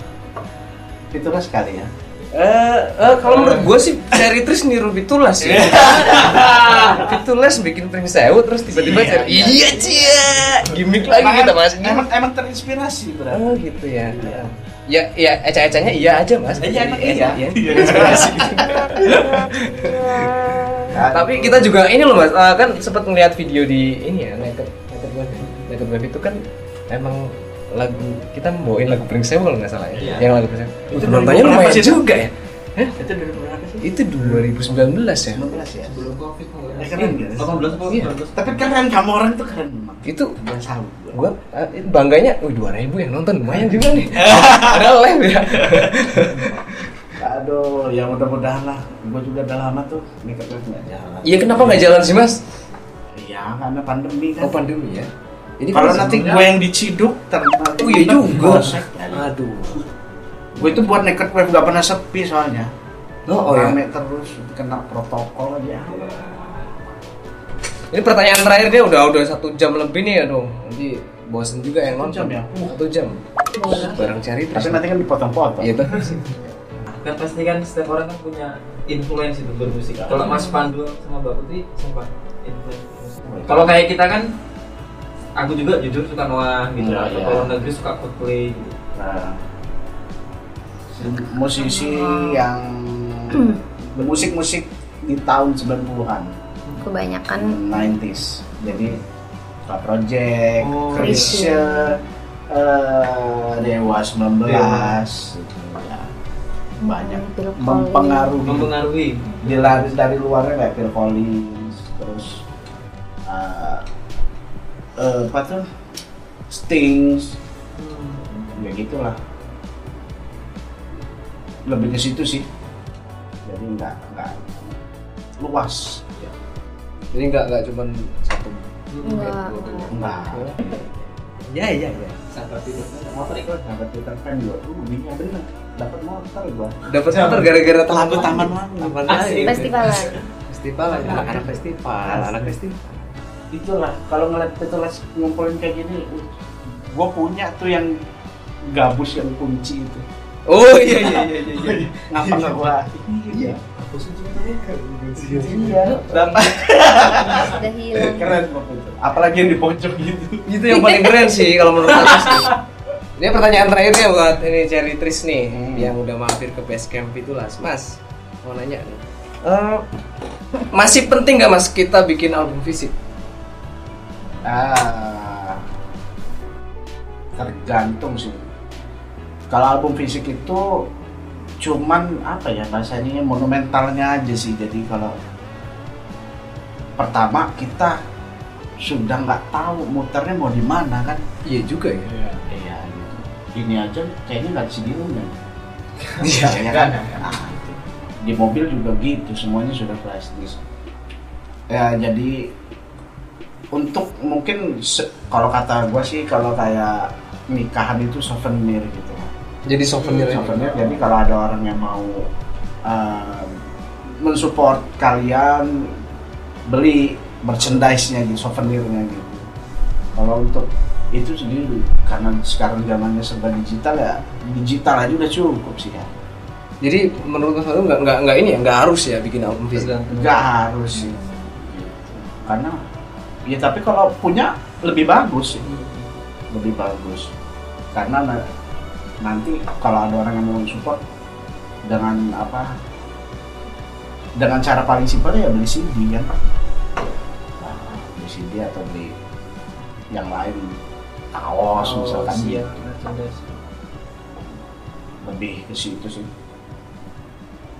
Speaker 1: itulah sekali ya
Speaker 2: Eh, eh, kalau menurut gue sih Seri Tris niru Bitulas
Speaker 1: Iya.
Speaker 2: ya. Bitulas bikin Pring Sewu terus tiba-tiba
Speaker 1: Iya,
Speaker 2: Seri-
Speaker 1: iya.
Speaker 2: Iya, cie. Gimik lagi
Speaker 1: Emang-
Speaker 2: kita mas.
Speaker 1: emang, emang terinspirasi berarti
Speaker 2: Oh gitu ya.
Speaker 1: Iya.
Speaker 2: Ya, ya, eca-ecanya iya aja mas.
Speaker 1: Iya, emang iya.
Speaker 2: iya. Inspirasi.
Speaker 1: Kan?
Speaker 2: Tapi kita juga ini loh mas, eh, kan sempat ngeliat video di ini ya, Naked Naked Web, ya. Naked Web itu kan emang lagu kita bawain lagu Pring Sewu kalau nggak salah
Speaker 1: Iya.
Speaker 2: ya, yang lagu Pring Sewu.
Speaker 1: Itu
Speaker 2: Penontonnya
Speaker 1: 2000 berapa
Speaker 2: lumayan
Speaker 1: sih?
Speaker 2: juga ya. Hah?
Speaker 1: itu dari berapa sih
Speaker 2: Itu 2019 ya.
Speaker 1: 19 ya
Speaker 4: Belum covid kalau
Speaker 1: Eh, keren gak?
Speaker 4: 18 apa
Speaker 2: Iya. Gitu.
Speaker 4: 19?
Speaker 1: tapi kan- keren kamu orang tuh keren memang
Speaker 2: Itu
Speaker 1: Gak tahu gua.
Speaker 2: gua eh, bangganya, wih 2000 yang nonton lumayan juga nih. Ada live ya.
Speaker 1: Aduh, ya mudah-mudahan lah. Gue juga udah lama tuh makeup artist nggak jalan.
Speaker 2: Iya kenapa nggak jalan sih mas?
Speaker 1: Iya, karena pandemi kan.
Speaker 2: Oh pandemi ya. Jadi
Speaker 1: Kalau
Speaker 2: kan
Speaker 1: nanti
Speaker 2: sebenarnya-
Speaker 1: gue yang diciduk, ternyata
Speaker 2: Oh iya juga.
Speaker 1: Aduh. ya. Gue itu buat naked wave gak pernah sepi soalnya.
Speaker 2: Oh, oh ya.
Speaker 1: Rame terus kena protokol aja.
Speaker 2: Ini pertanyaan terakhir dia udah udah satu jam lebih nih ya dong. Nanti bosen juga yang
Speaker 1: Satu jam
Speaker 2: nonton.
Speaker 1: ya?
Speaker 2: Satu jam. Barang cari terus.
Speaker 1: Tapi nanti kan dipotong-potong.
Speaker 2: Iya bagus sih.
Speaker 4: Kan pasti kan setiap orang kan punya influence itu bermusik. Kalau Mas Pandu sama Mbak Putri sumpah influence. Kalau kayak kita kan aku juga jujur suka Noah gitu.
Speaker 1: Iya,
Speaker 4: Atau
Speaker 1: iya.
Speaker 4: Kalau negeri suka Coldplay gitu.
Speaker 1: Nah, musisi
Speaker 2: Hmm.
Speaker 1: yang musik-musik di tahun 90-an.
Speaker 3: kebanyakan
Speaker 1: 90s jadi Pak Project,
Speaker 4: Oh,
Speaker 1: Chrisye, eh, Dewa 19 gitu ya. banyak
Speaker 3: Hmm, Phil Collins.
Speaker 1: mempengaruhi
Speaker 4: Mempengaruhi.
Speaker 1: dari dari luarnya kayak Phil Collins terus eh, eh, apa tuh Stings ya gitulah lebih ke situ sih jadi nggak nggak luas
Speaker 2: Jadi nggak nggak cuma satu.
Speaker 3: Enggak.
Speaker 1: nggak
Speaker 2: ya
Speaker 1: iya.
Speaker 2: ya ya
Speaker 4: sahabat itu
Speaker 1: motor ikut dapat kan Twitter fan gua tuh bunyinya bener dapat motor gua
Speaker 2: dapat motor gara-gara telat
Speaker 1: Lagu Taman Wangi.
Speaker 2: taman
Speaker 4: Asik.
Speaker 2: Wangi.
Speaker 3: festivalan
Speaker 2: festival ya. anak anak festival anak festival
Speaker 1: itulah kalau ngeliat petualas ngumpulin kayak gini uh, gua punya tuh yang gabus yang kunci itu
Speaker 2: oh iya iya iya iya, iya
Speaker 1: ngapa nggak gua iya
Speaker 4: aku sih cintanya
Speaker 1: iya dapat
Speaker 3: sudah hilang
Speaker 1: keren waktu itu apalagi yang di pojok gitu
Speaker 2: itu yang paling keren sih kalau menurut aku sih. Ini pertanyaan terakhir ya buat ini Cherry Tris nih
Speaker 1: Hmm.
Speaker 2: yang udah mampir ke base camp itulah, Mas. Mau nanya nih. Eh, masih penting nggak Mas kita bikin album fisik?
Speaker 1: Ah, tergantung sih. Kalau album fisik itu cuman apa ya bahasanya monumentalnya aja sih. Jadi kalau pertama kita sudah nggak tahu muternya mau di mana kan?
Speaker 2: Iya juga ya.
Speaker 1: Iya gitu. Ini aja kayaknya nggak di sini kan?
Speaker 2: Iya,
Speaker 1: ya kan? Nah, gitu. di mobil juga gitu, semuanya sudah plastis. Ya jadi untuk mungkin se- kalau kata gua sih kalau kayak nikahan itu souvenir gitu.
Speaker 2: Jadi souvenir ya.
Speaker 1: Hmm, Souvenir. Jadi kalau ada orang yang mau eh, mensupport kalian beli merchandise-nya gitu, souvenirnya gitu. Kalau untuk itu sendiri karena sekarang zamannya serba digital ya digital aja udah cukup sih ya
Speaker 2: Jadi menurut Mas Faru nggak nggak nggak ini ya nggak harus ya bikin album fisik.
Speaker 1: nggak harus sih karena ya tapi kalau punya lebih bagus sih lebih bagus karena na- nanti kalau ada orang yang mau support dengan apa dengan cara paling simpel ya beli CD kan Nah, beli CD atau beli yang lain kaos misalkan
Speaker 4: iya
Speaker 1: gitu. lebih ke situ sih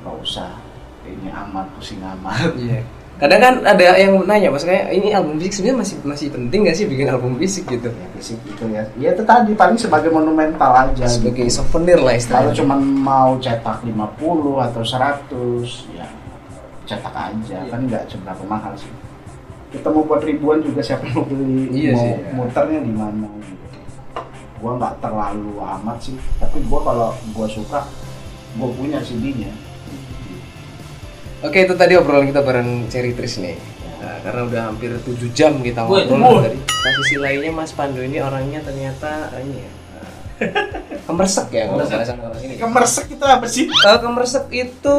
Speaker 1: nggak usah ini amat pusing amat
Speaker 2: Iya. Kadang kan ada yang nanya Mas kayak ini album fisik sebenarnya masih masih penting nggak sih bikin album fisik gitu?
Speaker 1: ya fisik gitu ya ya itu tadi paling sebagai monumental aja
Speaker 2: Sebagai
Speaker 1: gitu.
Speaker 2: souvenir lah
Speaker 1: kalau
Speaker 2: istilahnya.
Speaker 1: cuma mau cetak 50 atau 100 ya cetak aja kan nggak seberapa mahal sih kita mau buat ribuan juga siapa yang mau beli
Speaker 2: Iya
Speaker 1: mau
Speaker 2: sih, ya.
Speaker 1: muternya di mana gitu. gua nggak terlalu amat sih tapi gua kalau gua suka gua punya CD-nya
Speaker 2: Oke itu tadi obrolan kita bareng Cherry Tris nih Nah, karena udah hampir 7 jam kita
Speaker 4: Woi,
Speaker 2: ngobrol
Speaker 4: woi.
Speaker 2: tadi. Nah, sisi lainnya Mas Pandu ini orangnya ternyata eh, ini ya. eh, kemersek ya kalau
Speaker 4: Kemersek.
Speaker 2: bahasa orang ini.
Speaker 1: kemersek itu apa sih
Speaker 2: Eh, kemersek itu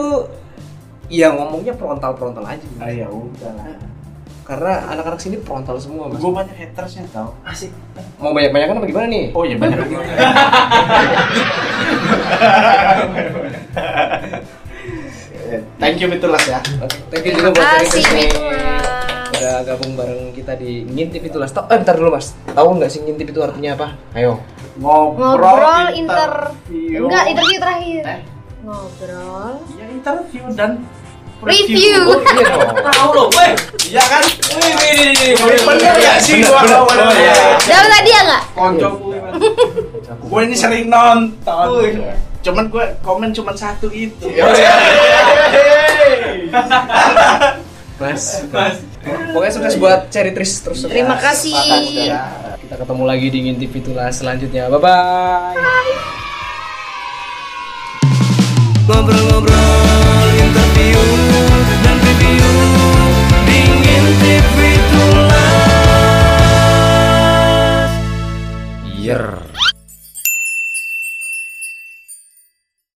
Speaker 2: ya ngomongnya frontal-frontal aja.
Speaker 1: ah ya udah lah
Speaker 2: Karena anak-anak sini frontal semua, Mas.
Speaker 1: gua banyak hatersnya tau
Speaker 4: asik
Speaker 2: Mau banyak-banyakan apa gimana nih?
Speaker 1: oh ya banyak banget thank you Mitulas ya
Speaker 2: Oke, Thank you juga buat
Speaker 3: Terima
Speaker 2: Cherry Tris
Speaker 3: kasih,
Speaker 2: nih.
Speaker 3: Mas.
Speaker 2: Udah gabung bareng kita di Ngintip Itulah. Tau- Eh, bentar dulu, Mas. Tahu nggak sih ngintip itu artinya apa? Ayo.
Speaker 1: ngobrol,
Speaker 3: ngobrol inter enggak interview terakhir
Speaker 1: Eh?
Speaker 3: ngobrol
Speaker 1: ya interview dan
Speaker 2: Oh,
Speaker 3: Review.
Speaker 1: iya dong
Speaker 4: tahu loh weh
Speaker 1: iya kan
Speaker 4: wih wih wih Oh,
Speaker 1: Ini bener ya sih
Speaker 2: Bener,
Speaker 1: gua
Speaker 2: bener.
Speaker 1: kalau bener
Speaker 4: iya.
Speaker 1: ya
Speaker 3: jauh tadi ya nggak
Speaker 1: konco gue gue ini sering nonton
Speaker 3: Iya.
Speaker 1: cuman gue komen cuman satu gitu. itu
Speaker 4: Iya,
Speaker 2: Mas. Mas. Pokoknya sukses buat Cherry Tris terus.
Speaker 3: terima
Speaker 2: sukses.
Speaker 3: kasih
Speaker 1: ya.
Speaker 2: Kita ketemu lagi di Ngintip Itulah selanjutnya. Bye bye. Ngobrol-ngobrol, interview dan review di Ngintip Itulah. Yer.